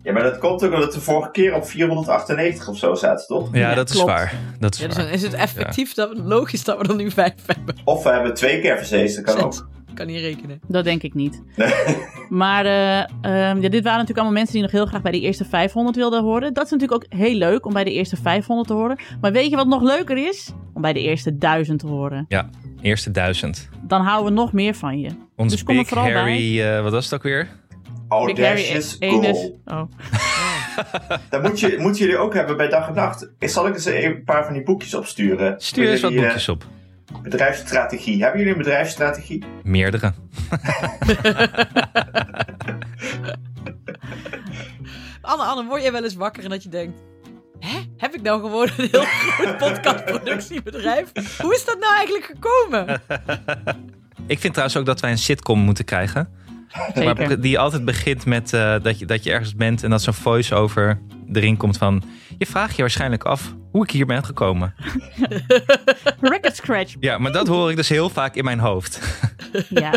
D: Ja, maar dat komt ook omdat we de vorige keer op 498 of zo zaten, toch?
E: Ja,
C: Ja,
E: dat is
C: klopt.
E: waar. Dat is
B: Ja, dus dan
E: waar.
B: is het effectief dat we, logisch dat we er nu vijf hebben.
D: Of we hebben twee keer verzees, dat kan
B: Zes.
D: ook.
B: Kan niet rekenen.
C: dat denk ik niet.
D: Nee.
C: Maar eh, ehm, ja, dit waren natuurlijk allemaal mensen die nog heel graag bij die eerste 500 wilden horen. Dat is natuurlijk ook heel leuk om bij de eerste 500 te horen. Maar weet je wat nog leuker is? Om bij de eerste 1000 te horen.
E: Ja, eerste duizend.
C: Dan houden we nog meer van je.
E: Ons
C: Dus kom er
E: Big
C: vooral bij.
E: Harry, eh, wat was het ook weer?
D: Oh, Audacious
C: Harry Anus.
D: goal.
C: Oh.
D: Dat moet je, moeten jullie ook hebben bij dag en nacht. Zal ik eens een paar van die boekjes opsturen?
E: Stuur eens
D: Met
E: wat
D: jullie, eh,
E: boekjes op.
D: Bedrijfsstrategie. Hebben jullie een bedrijfsstrategie?
E: Meerdere.
B: Anne, Anne, word jij wel eens wakker en dat je denkt... Hè? Heb ik nou gewoon een heel groot podcastproductiebedrijf? Hoe is dat nou eigenlijk gekomen?
E: Ik vind trouwens ook dat wij een sitcom moeten krijgen. Maar
C: Zeker.
E: die altijd begint met eh, dat, je, dat je ergens bent en dat zo'n voice-over erin komt van... Je vraagt je waarschijnlijk af hoe ik hier ben gekomen.
C: Record scratch.
E: Ja, maar dat hoor ik dus heel vaak in mijn hoofd.
C: Ja.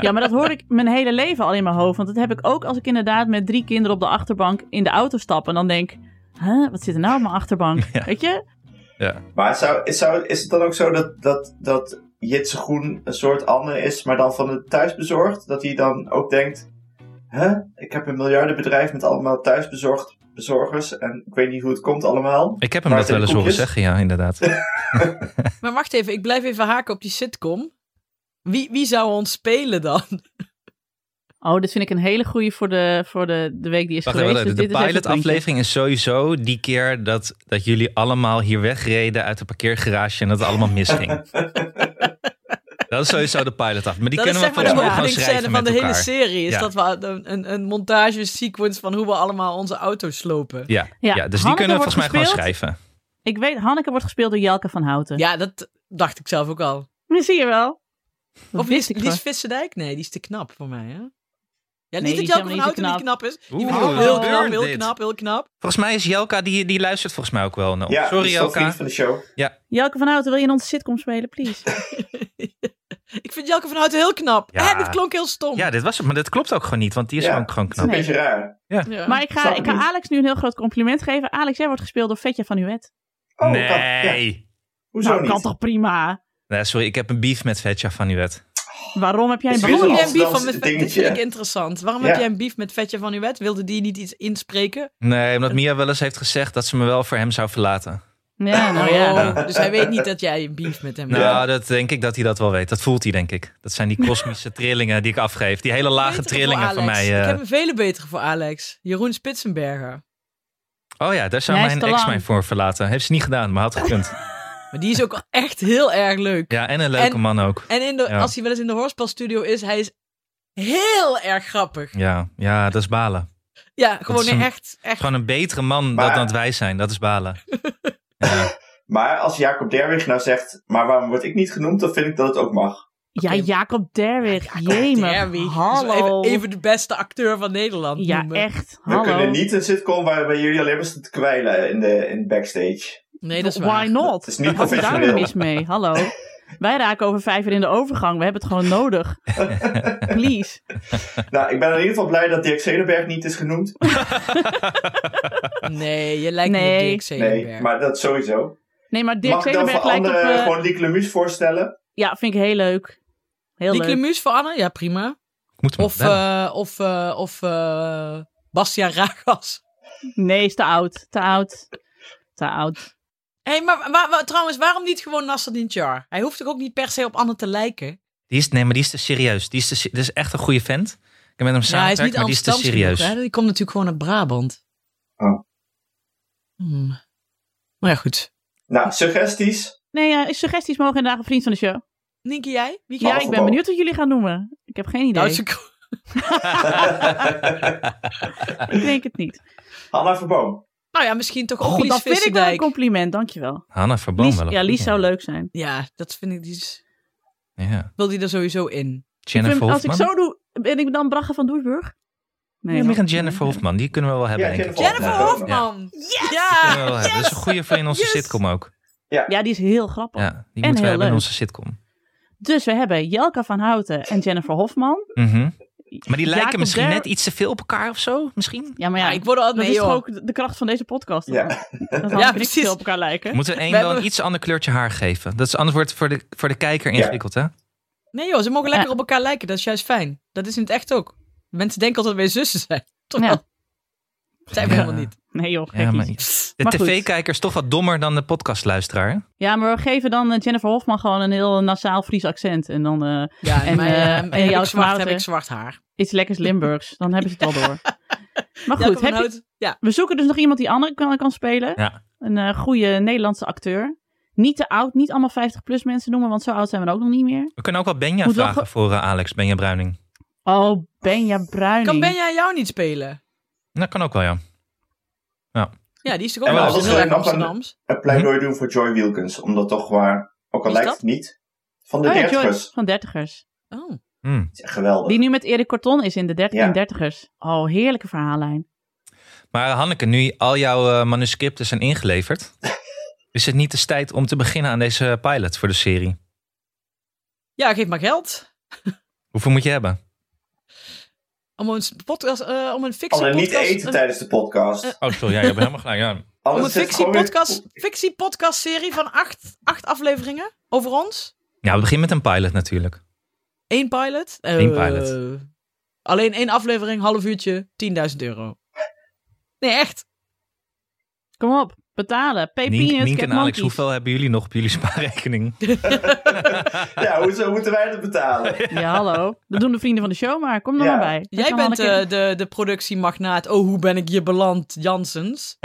C: ja, maar dat hoor ik mijn hele leven al in mijn hoofd. Want dat heb ik ook als ik inderdaad met drie kinderen op de achterbank in de auto stap. En dan denk, huh, wat zit er nou op mijn achterbank? Weet je?
E: Ja.
D: Maar zou, zou, is het dan ook zo dat, dat, dat Jitse Groen een soort Anne is, maar dan van het thuisbezorgd? Dat hij dan ook denkt, hè, ik heb een miljardenbedrijf met allemaal thuisbezorgd bezorgers en ik weet niet hoe het komt allemaal.
E: Ik heb hem
D: Waar
E: dat
D: zijn
E: wel eens
D: de koekjes?
E: horen zeggen, ja, inderdaad.
B: Maar wacht even, ik blijf even haken op die sitcom. Wie, wie zou ons spelen dan?
C: Oh, dit vind ik een hele goeie voor de, voor de, de week die is
E: Wacht even,
C: geweest. Dus
E: wacht even. de
C: dit is even het puntje.
E: pilotaflevering is sowieso die keer dat, dat jullie allemaal hier wegreden uit de parkeergarage en dat het allemaal misging. dat is sowieso de pilotaf. Maar die
B: dat is
E: kunnen
B: zeg
E: we
B: maar
E: volgens
B: de
E: mij gewoon
B: openingscène
E: schrijven
B: van
E: met
B: de
E: elkaar.
B: hele serie. Is
E: Ja.
B: dat we een, een, een montage-sequence van hoe we allemaal onze auto's slopen.
E: Ja,
C: Ja,
E: ja. dus die
C: Hanneke
E: kunnen we
C: wordt
E: volgens mij gewoon
C: gespeeld.
E: schrijven.
C: Ik weet, Hanneke wordt gespeeld door Jelke van Houten.
B: Ja, dat dacht ik zelf ook al.
C: Dat zie je wel. Dat
B: Of
C: wist
B: Lies,
C: ik
B: Lies
C: gewoon.
B: Visserdijk? Nee, die is te knap voor mij, hè? Ja,
C: die
B: niet
C: is
B: dat
C: helemaal
B: Jelke van
C: niet
B: Houten
C: te
B: niet
C: knap.
B: knap is. Die
E: Oeh,
B: vind ik
E: wat
B: heel
E: gebeurt
B: knap, heel
E: dit?
B: knap, heel knap.
E: Volgens mij is Jelka, die, die luistert volgens mij ook wel naar ons.
D: Ja, dus
E: Sorry
D: die is toch
E: Jelka.
D: vriend van de show.
C: Jelke van Houten, wil je in onze sitcom spelen, please?
B: Ik vind Jelke van Houten heel knap.
E: Ja.
B: En het klonk heel stom.
E: Ja, dit was het. Maar dat klopt ook gewoon niet, want die is
D: Ja.
E: gewoon, gewoon
D: Dat is een
E: knap.
C: Nee.
D: beetje raar.
B: Ja.
C: Maar ik ga, ik
D: Snap Eh, ik
C: ga
D: niet.
C: Alex nu een heel groot compliment geven. Alex, jij wordt gespeeld door Vetje van Huet.
D: Oh,
E: nee.
D: dat- ja. Hoezo
C: Nou,
D: niet?
C: kan toch prima?
E: Nee, sorry, ik heb een beef met Vetja van Uwet.
C: Waarom heb jij een
D: Is
B: Waarom
D: Dit
B: heb jij
D: een
B: een beef van met
D: Amsterdamse
B: Dit vind ik
D: dingetje.
B: interessant. Waarom
D: Ja.
B: heb jij een beef met Vetje van Uwet? Wilde die niet iets inspreken?
E: Nee, omdat Mia wel eens heeft gezegd dat ze me wel voor hem zou verlaten.
C: Ja, nou ja.
B: Oh, dus hij weet niet dat jij een beef met hem
E: Nou,
B: hebt.
E: dat denk ik dat hij dat wel weet. Dat voelt hij, denk ik. Dat zijn die kosmische trillingen die ik afgeef. Die hele lage
B: Betere
E: trillingen
B: voor
E: van mij.
B: Alex.
E: eh.
B: Ik heb een vele betere voor Alex. Jeroen Spitsenberger.
E: Oh ja, daar zou
C: Hij is
E: mijn
C: te
E: ex
C: lang.
E: mij voor verlaten. Heeft ze niet gedaan, maar had gekund.
B: Maar die is ook echt heel erg leuk.
E: Ja, en een leuke
B: En-
E: man ook.
B: En in de,
E: Ja.
B: als hij wel eens in de hoorspelstudio is, hij is heel erg grappig.
E: Ja, ja, dat is balen.
B: Ja, gewoon
E: is een-
B: echt, echt.
E: Gewoon een betere man
D: Maar-
E: dan dat wij zijn. Dat is balen. Ja.
D: Maar als Jacob Derwig nou zegt, maar waarom word ik niet genoemd, dan vind ik dat het ook mag.
C: Ja, Jacob Derwig.
B: Derby. Dus
C: Jemig. Hallo.
B: Even, even de beste acteur van Nederland
C: Ja,
B: noemen.
C: echt.
D: We
C: Hallo.
D: kunnen niet een sitcom waarbij jullie alleen maar staan te kwijlen in de in backstage.
B: Nee, dat is waar.
C: Why not?
D: Dat is niet
C: Wat is daar nou
D: professioneel.
C: mis mee? Hallo. Wij raken over vijf uur in de overgang. We hebben het gewoon nodig. Please.
D: Nou, ik ben in ieder geval blij dat Dirk Zedenberg niet is genoemd.
B: Nee, je lijkt
C: Nee.
B: niet op Dirk
D: Nee,
B: Zelenberg.
D: maar dat sowieso.
C: Nee, maar Dirk
D: Mag ik dan
C: Zedenberg
D: voor
C: lijkt op...
D: anderen
C: eh,
D: gewoon Lieke Lemus voorstellen?
C: Ja, vind ik heel leuk. Heel
B: Lieke
C: leuk.
B: Lemus voor Anne? Ja, prima.
E: Ik moet hem
B: Of,
E: bellen.
B: eh, of, eh, of eh, Bastiaan Ragas.
C: Nee, is te oud. Te oud. Te oud.
B: Hé, hey, maar wa- wa- trouwens, waarom niet gewoon Nasser Char? Hij hoeft toch ook niet per se op Anne te lijken?
E: Die is, nee, maar die is te serieus. Die is, te, se- dat is echt een goede vent. Ik heb met hem
B: Ja, hij is
E: samengewerkt,
B: niet
E: maar die is te
B: Amsterdams
E: serieus.
B: genoeg, hè? Die komt natuurlijk gewoon uit Brabant.
D: Oh.
B: Hmm. Maar ja, goed.
D: Nou, suggesties.
C: Nee, eh, suggesties mogen inderdaad een vriend van de show.
B: Nienke, jij? Wie ga
C: Ja,
D: Alles
C: ik ben
D: omhoog.
C: benieuwd wat jullie gaan noemen. Ik heb geen idee.
B: Nou, ze-
C: Ik denk het niet.
D: Hanna Verboom.
B: nou ja, misschien toch ook
C: Goed,
B: Lies
C: dat vind ik wel een
B: Visserdijk.
C: compliment. Dankjewel.
E: Hanna Verboom
C: Lies,
E: wel. een
C: ja,
E: goeie.
C: Lies zou leuk zijn.
B: Ja, dat vind ik. Die is-
E: Ja.
B: wil die er sowieso in?
C: Ik
E: Jennifer
C: vind- als ik
E: Hofman.
C: zo doe, ben ik dan Bragge van Doesburg?
E: Nee, meer een
C: dat-
E: Jennifer Hofman. Die kunnen we wel hebben,
D: Ja,
E: denk ik.
D: Jennifer
B: Jennifer
D: Oh, Ja.
B: Hofman!
E: Die
B: Ja!
E: kunnen we wel hebben. Dat is een goede voor in onze
B: Yes!
E: sitcom ook.
C: Ja, die is heel grappig.
E: Ja, die moeten we
C: heel
E: hebben in
C: leuk.
E: onze sitcom.
C: Dus we hebben Jelka van Houten en Jennifer Hofman.
E: Mhm. Maar die lijken
C: Jacob
E: misschien
C: Der-
E: net iets te veel op elkaar of zo, misschien?
C: Ja, maar ja,
B: Ja, ik word al.
C: dat
B: Nee,
C: is toch
B: joh.
C: ook de kracht van deze podcast.
D: Ja.
C: Dat dat
B: Ja,
C: ja,
B: precies.
C: precies. op elkaar lijken.
E: Moeten we één
B: We
E: wel een
B: hebben-
E: iets ander kleurtje haar geven? Dat is anders wordt voor de, voor de kijker ingewikkeld, hè?
B: Nee, joh, ze mogen lekker op elkaar lijken. Dat is juist fijn. Dat is in het echt ook. Mensen denken altijd dat wij zussen zijn. Toch?
C: Ja.
B: wel? Zijn we
E: Ja.
B: helemaal niet.
C: Nee joh, gekkies.
E: Ja,
C: Ja,
E: maar-
C: maar...
E: De
C: Maar goed.
E: tv-kijker is toch wat dommer dan de podcastluisteraar. hè?
C: we geven dan eh, Jennifer Hofman gewoon een heel nasaal Fries accent. En dan eh,
B: Ja, en,
C: En,
B: mijn,
C: eh,
B: eh,
C: en
B: heb ik
C: jouw
B: zwart,
C: smaak,
B: heb
C: hè?
B: ik zwart haar.
C: iets lekkers Limburgs. dan hebben ze het al door. Maar
B: Jacob
C: goed,
B: van
C: heb je,
B: Hout- Ja,
C: we zoeken dus nog iemand die Anne kan, kan spelen.
E: Ja.
C: Een eh goede Nederlandse acteur. Niet te oud, niet allemaal 50-plus mensen noemen, want zo oud zijn we dan ook nog niet meer.
E: We kunnen ook wel Benja
C: Moet wel
E: vragen
C: ge-
E: voor eh, Alex, Benja Bruining.
C: Oh, Benja Bruining.
B: kan Benja jou niet spelen?
E: Dat kan ook wel, ja.
B: Ja, die is toch ook
D: En
B: wel
D: wel,
B: heel
D: dat
B: erg
D: is wel een
B: Amsterdams?
D: Een pleidooi
C: Mhm.
D: doen voor Joy Wilkins. Omdat toch waar, ook
B: Wie
D: al
B: is
D: lijkt
B: dat?
D: het niet, van de
C: Oh ja, Joyce,
D: dertigers.
C: van dertigers.
B: Oh.
E: Hmm.
D: Het is echt Geweldig.
C: Die nu met Erik Corton is in de dert-
D: Ja.
C: in dertigers. Oh, heerlijke verhaallijn.
E: Maar eh, Hanneke, nu al jouw eh, manuscripten zijn ingeleverd, is het niet eens tijd om te beginnen aan deze pilot voor de serie?
B: Ja, geef maar geld.
E: Hoeveel moet je hebben?
B: Om een, podcast, eh, om een fictie
D: Alleen
B: podcast...
D: niet eten tijdens de podcast.
B: eh,
E: Oh, sorry, ja, je hebt helemaal gelijk. Ja.
B: Om een
D: Anders zit het
B: fictie
D: gewoon weer-
B: podcast, fictie podcast serie van acht, acht afleveringen over ons.
E: Ja, we beginnen met een pilot natuurlijk.
B: Eén pilot. Eh,
E: Eén pilot.
B: Alleen één aflevering, half uurtje, 10.000 euro. Nee, echt.
C: Kom op, betalen. Pay
E: Nienke,
C: peanuts,
E: Nienke
C: get
E: en Alex,
C: monkeys.
E: hoeveel hebben jullie nog op jullie spaarrekening?
D: Ja, hoezo moeten wij dat betalen?
C: Ja, hallo. Dat doen de vrienden van de show maar. Kom er
D: Ja.
C: maar bij. Dat
B: Jij
C: kan
B: bent
C: wel een
B: eh, de, de productiemagnaat. Oh, hoe ben ik hier beland, Jansens?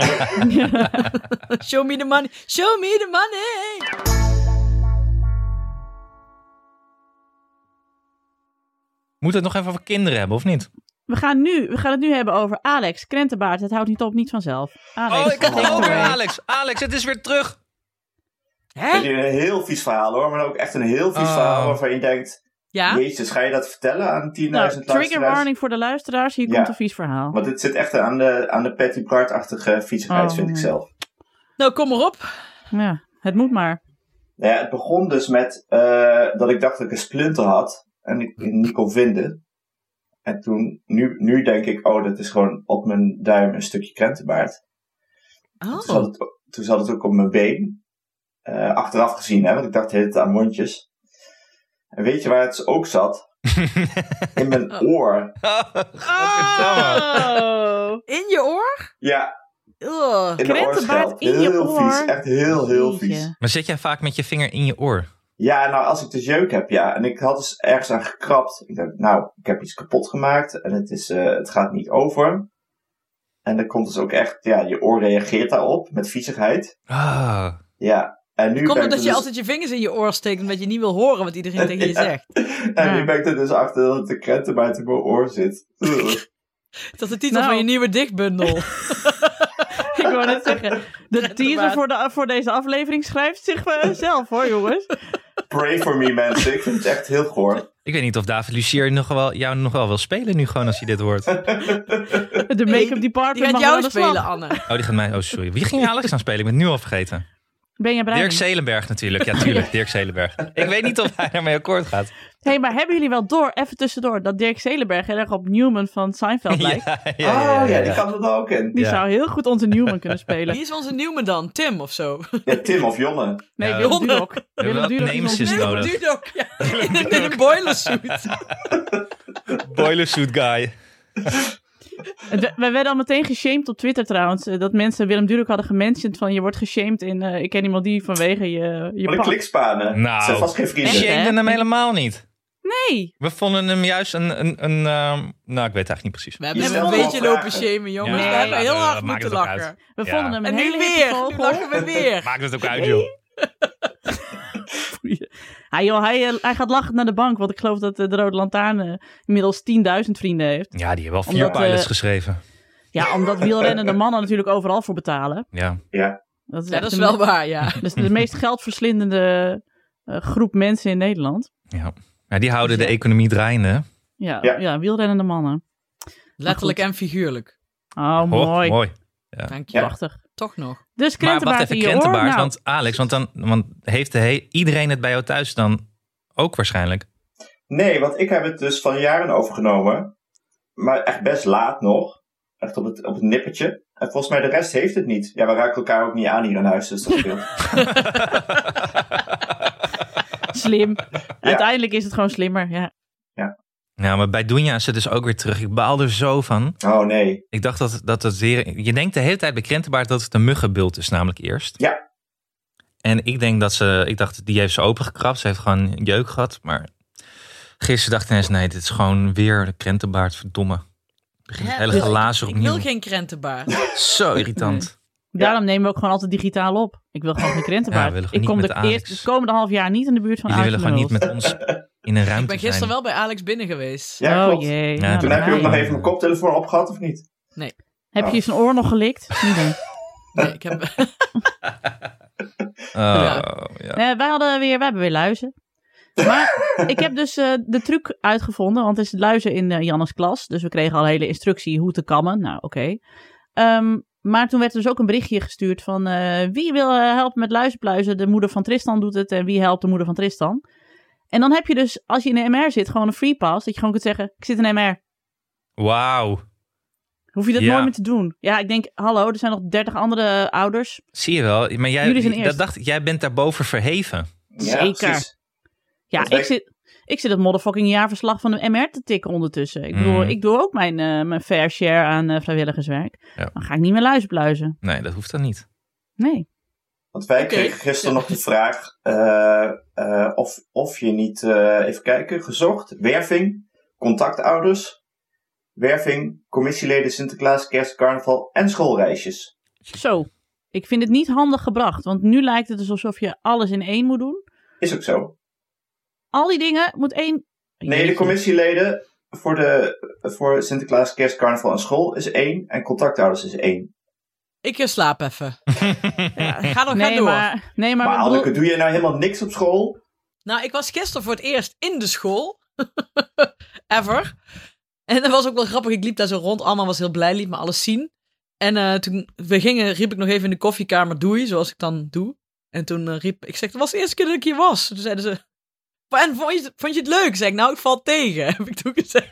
C: keer-
B: Show me the money. Show me the money.
E: Moet het nog even voor kinderen hebben, of niet?
C: We gaan, nu, we gaan het nu hebben over Alex. Krentenbaard, het houdt niet op, niet vanzelf. Alex,
E: Oh, ik had
C: take
E: het
C: it
E: ook weer,
C: away.
E: Alex. Alex, het is weer terug.
D: Vind
B: Hè?
D: je een heel vies verhaal hoor, maar ook echt een heel vies
E: Oh.
D: verhaal waarvan je denkt,
B: Ja?
D: jezus, ga je dat vertellen aan 10.000
C: Nou, trigger
D: luisteraars?
C: warning voor de luisteraars. Hier
D: Ja.
C: komt een vies verhaal.
D: Want dit zit echt aan de, aan de Patty Bart-achtige viezigheid,
C: Oh,
D: vind ik
C: nee.
D: zelf.
B: Nou, kom maar op.
C: Ja, het moet maar.
D: Nou ja, het begon dus met eh, dat ik dacht dat ik een splinter had en ik die niet kon vinden. En toen, nu, nu denk ik, oh, dat is gewoon op mijn duim een stukje krentenbaard. Toen, zat
B: Oh.
D: het, toen zat het ook op mijn been. Eh, achteraf gezien, hè, want ik dacht de hele tijd aan mondjes. En weet je waar het ook zat? In mijn oor.
E: Godverdamme.
C: Oh.
B: In je oor?
D: Ja,
B: Ugh.
D: in de
C: Krentenbaard
D: oorschelp.
C: in je
D: heel
C: oor?
D: vies, echt heel, heel vies.
C: Jeetje.
E: Maar zit jij vaak met je vinger in je oor?
D: Ja, nou, als ik de jeuk heb, ja. En ik had dus ergens aan gekrapt. Ik dacht, nou, ik heb iets kapot gemaakt en het, is, eh, het gaat niet over. En dan komt dus ook echt, ja, je oor reageert daarop met viezigheid.
E: Ah.
D: Ja, en nu
B: Komt
D: ben ik
B: omdat
D: er
B: je
D: dus-
B: altijd je vingers in je oor steekt omdat je niet wil horen wat iedereen tegen je
D: Ja.
B: zegt.
D: En
C: Ja.
D: nu ben ik er dus achter dat de krentenbaard in mijn oor zit. Ugh.
B: Dat is de titel
C: Nou.
B: van je nieuwe dichtbundel.
C: Ik wou net zeggen, de teaser
B: Krentenbaard.
C: voor, de, voor deze aflevering schrijft zich eh, zelf hoor jongens.
D: Pray for me, mensen. Ik vind het echt heel goor.
E: Ik weet niet of David Lucier nog wel, jou nog wel wil spelen nu gewoon als hij dit hoort. Oh,
C: De make-up
B: Die
C: department
B: gaat
C: mag wel aan
B: jou
C: de slag.
B: spelen, Anne.
E: die gaat mij... Oh, sorry. Wie ging Alex dan spelen? Ik ben het nu al vergeten.
C: Ben je
E: Dirk
C: bereid?
E: Zelenberg natuurlijk. Ja, tuurlijk. Dirk Zelenberg. Ik weet niet of hij daarmee akkoord gaat.
C: Hé, hey, maar hebben jullie wel door, even tussendoor, dat Dirk Zelenberg heel erg op Newman van Seinfeld lijkt?
E: Ah.
D: oh ja, die kan er nou ook in.
C: Die
E: Ja.
C: zou heel goed onze Newman kunnen spelen.
B: Wie is onze nieuwe dan? Tim of zo?
D: Ja, Tim of Jonne.
C: Nee,
E: Ja,
C: Willem
B: Jonne.
C: Dudok.
E: hebben
C: Willem
E: wel
C: Dudok is
E: names
C: ons-
E: is
B: Nee,
E: nodig.
B: Dudok. Ja. In, een- in een boilersuit.
E: Boilersuit guy.
C: We, we werden al meteen geshamed op Twitter trouwens. eh, Dat mensen Willem Dudok hadden gementiond van je wordt geshamed in eh, ik ken iemand die vanwege je, je
D: Wat een
C: pak.
D: klikspanen.
E: Nou.
D: Het zijn vast geen
E: We
D: vrienden.
C: Echt?
E: shamed hem helemaal niet.
C: Nee,
E: We vonden hem juist een... een, een ehm, nou, ik weet het eigenlijk niet precies.
B: We hebben
D: Je
B: hem een
D: stelt
B: beetje
D: wel
B: lopen
D: vragen.
B: shamen,
C: Oh,
B: jongens.
E: Ja,
B: we hebben heel
E: dat
B: hard
E: maakt
B: moeten
E: het ook
B: lachen.
C: we
E: Ja.
C: vonden hem
B: En
C: een
B: nu
C: hele hippe
B: weer. Nu
C: vogel.
B: lachen we weer.
E: Maakt het ook uit, joh.
C: Ah, joh, hij, eh, hij gaat lachend naar de bank, want ik geloof dat eh, de Rode Lantaarn eh, inmiddels 10.000 vrienden heeft.
E: Ja, die hebben wel vier
C: Omdat, eh,
E: pilots geschreven.
C: Ja, omdat wielrennende mannen natuurlijk overal voor betalen.
E: Ja.
C: Dat is,
B: Ja,
C: echt
B: dat is
C: de
B: wel
C: me-
B: waar, ja.
C: dat is de meest geldverslindende eh, groep mensen in Nederland.
E: ja. Die houden de economie draaiende. hè?
C: Ja, ja.
D: Ja.
C: wielrennende mannen.
B: Letterlijk en figuurlijk.
C: Oh,
E: Ho,
C: mooi.
E: mooi.
B: Dank je.
D: Ja.
C: Prachtig.
B: Toch nog.
C: Dus
E: Maar wat
C: krentenbaard
E: even
C: in je oor.
E: krentenbaard.
C: Nou,
E: Want Alex, want, dan, want heeft de he- iedereen het bij jou thuis dan ook waarschijnlijk?
D: Nee, want ik heb het dus van jaren overgenomen. Maar echt best laat nog. Echt op het, op het nippertje. En volgens mij de rest heeft het niet. Ja, we raken elkaar ook niet aan hier in huis, dus dat scheelt.
C: Slim. Uiteindelijk is het gewoon slimmer. Ja.
E: Nou, maar bij Doenja is het dus ook weer terug. Ik baal er zo van.
D: Oh nee.
E: Ik dacht dat dat, dat weer... Je denkt de hele tijd bij krentenbaard dat het een muggenbult is namelijk eerst.
D: Ja.
E: En ik denk dat ze... Ik dacht, die heeft ze opengekrapt. Ze heeft gewoon jeuk gehad. Maar gisteren dacht ik ineens, nee, dit is gewoon weer de krentenbaard. Verdomme. Het begint het hele
B: Wil-
E: glazen
B: Ik
E: opnieuw.
B: wil geen krentenbaard.
E: Zo irritant.
C: Daarom nemen we ook gewoon altijd digitaal op. Ik wil gewoon geen krentenbaard.
E: Ja, we willen
C: ik
E: gewoon
C: kom
E: niet
C: de
E: met Alex.
C: eerst- het komende half jaar niet in de buurt van
E: Jullie
C: Alex
E: willen gewoon niet
C: van
E: met ons in een ruimte
B: Ik ben
E: zijn.
B: gisteren wel bij Alex binnen geweest.
C: der
D: Ja,
C: Hulst.
D: klopt.
C: Oh jee.
E: Ja,
C: nou,
D: Toen
C: dan
D: heb je ook
C: ga
D: nog
C: je.
D: even mijn koptelefoon opgehad, of niet?
C: Heb je zijn oor nog gelikt? Niet doen.
B: Nee, ik heb...
E: Oh, ja.
C: Eh, wij, hadden weer, wij hebben weer luizen. Maar ik heb dus eh, de truc uitgevonden, want het is luizen in eh, Jannes klas. Dus we kregen al hele instructie hoe te kammen. Nou, oké. Ehm, maar toen werd er dus ook een berichtje gestuurd van eh, wie wil eh, helpen met luizenpluizen? De moeder van Tristan doet het en wie helpt de moeder van Tristan? En dan heb je dus, als je in een MR zit, gewoon een free pass. Dat je gewoon kunt zeggen, ik zit in een MR.
E: Wauw.
C: Hoef je dat
E: Ja.
C: nooit meer te doen. Ja, ik denk, hallo, er zijn nog dertig andere eh, ouders.
E: Zie je wel. Maar
C: Jullie zijn
E: jij,
C: eerst.
E: dat dacht, ik, jij bent daarboven verheven.
D: Ja,
C: Zeker.
D: precies.
C: Ja,
D: Dat wij-
C: ik zit, ik zit het motherfucking jaarverslag van de MR te tikken ondertussen. Ik bedoel,
E: Mm.
C: ik doe ook mijn, eh, mijn fair share aan eh, vrijwilligerswerk.
E: Ja.
C: Dan ga ik niet meer luizenpluizen.
E: Nee, dat hoeft dan niet.
C: Nee.
D: Want wij
B: Oké.
D: kregen gisteren nog de vraag eh, eh, of, of je niet, eh, even kijken, gezocht, werving, contactouders, werving, commissieleden Sinterklaas, kerst, carnaval en schoolreisjes.
C: Zo. Ik vind het niet handig gebracht. Want nu lijkt het dus alsof je alles in één moet doen.
D: Is ook zo.
C: Al die dingen moet één...
D: Nee, de
C: Jeetje.
D: commissieleden voor, de, voor Sinterklaas, kerst, carnaval en school is één. En contactouders is één.
B: Ik eh, slaap even. Ja, ga nog
C: nee,
B: door.
C: maar, nee, maar,
D: Maar,
C: we bedoel-
D: Anneke, doe jij nou helemaal niks op school?
B: Nou, ik was gisteren voor het eerst in de school. Ever. En dat was ook wel grappig. Ik liep daar zo rond. Alma was heel blij, liet me alles zien. En eh, toen we gingen, riep ik nog even in de koffiekamer doei, zoals ik dan doe. En toen eh, riep ik, zeg, dat was de eerste keer dat ik hier was. Toen zeiden ze, en vond je, het- vond je het leuk? Zeg ik, nou, ik val tegen, heb ik toen gezegd.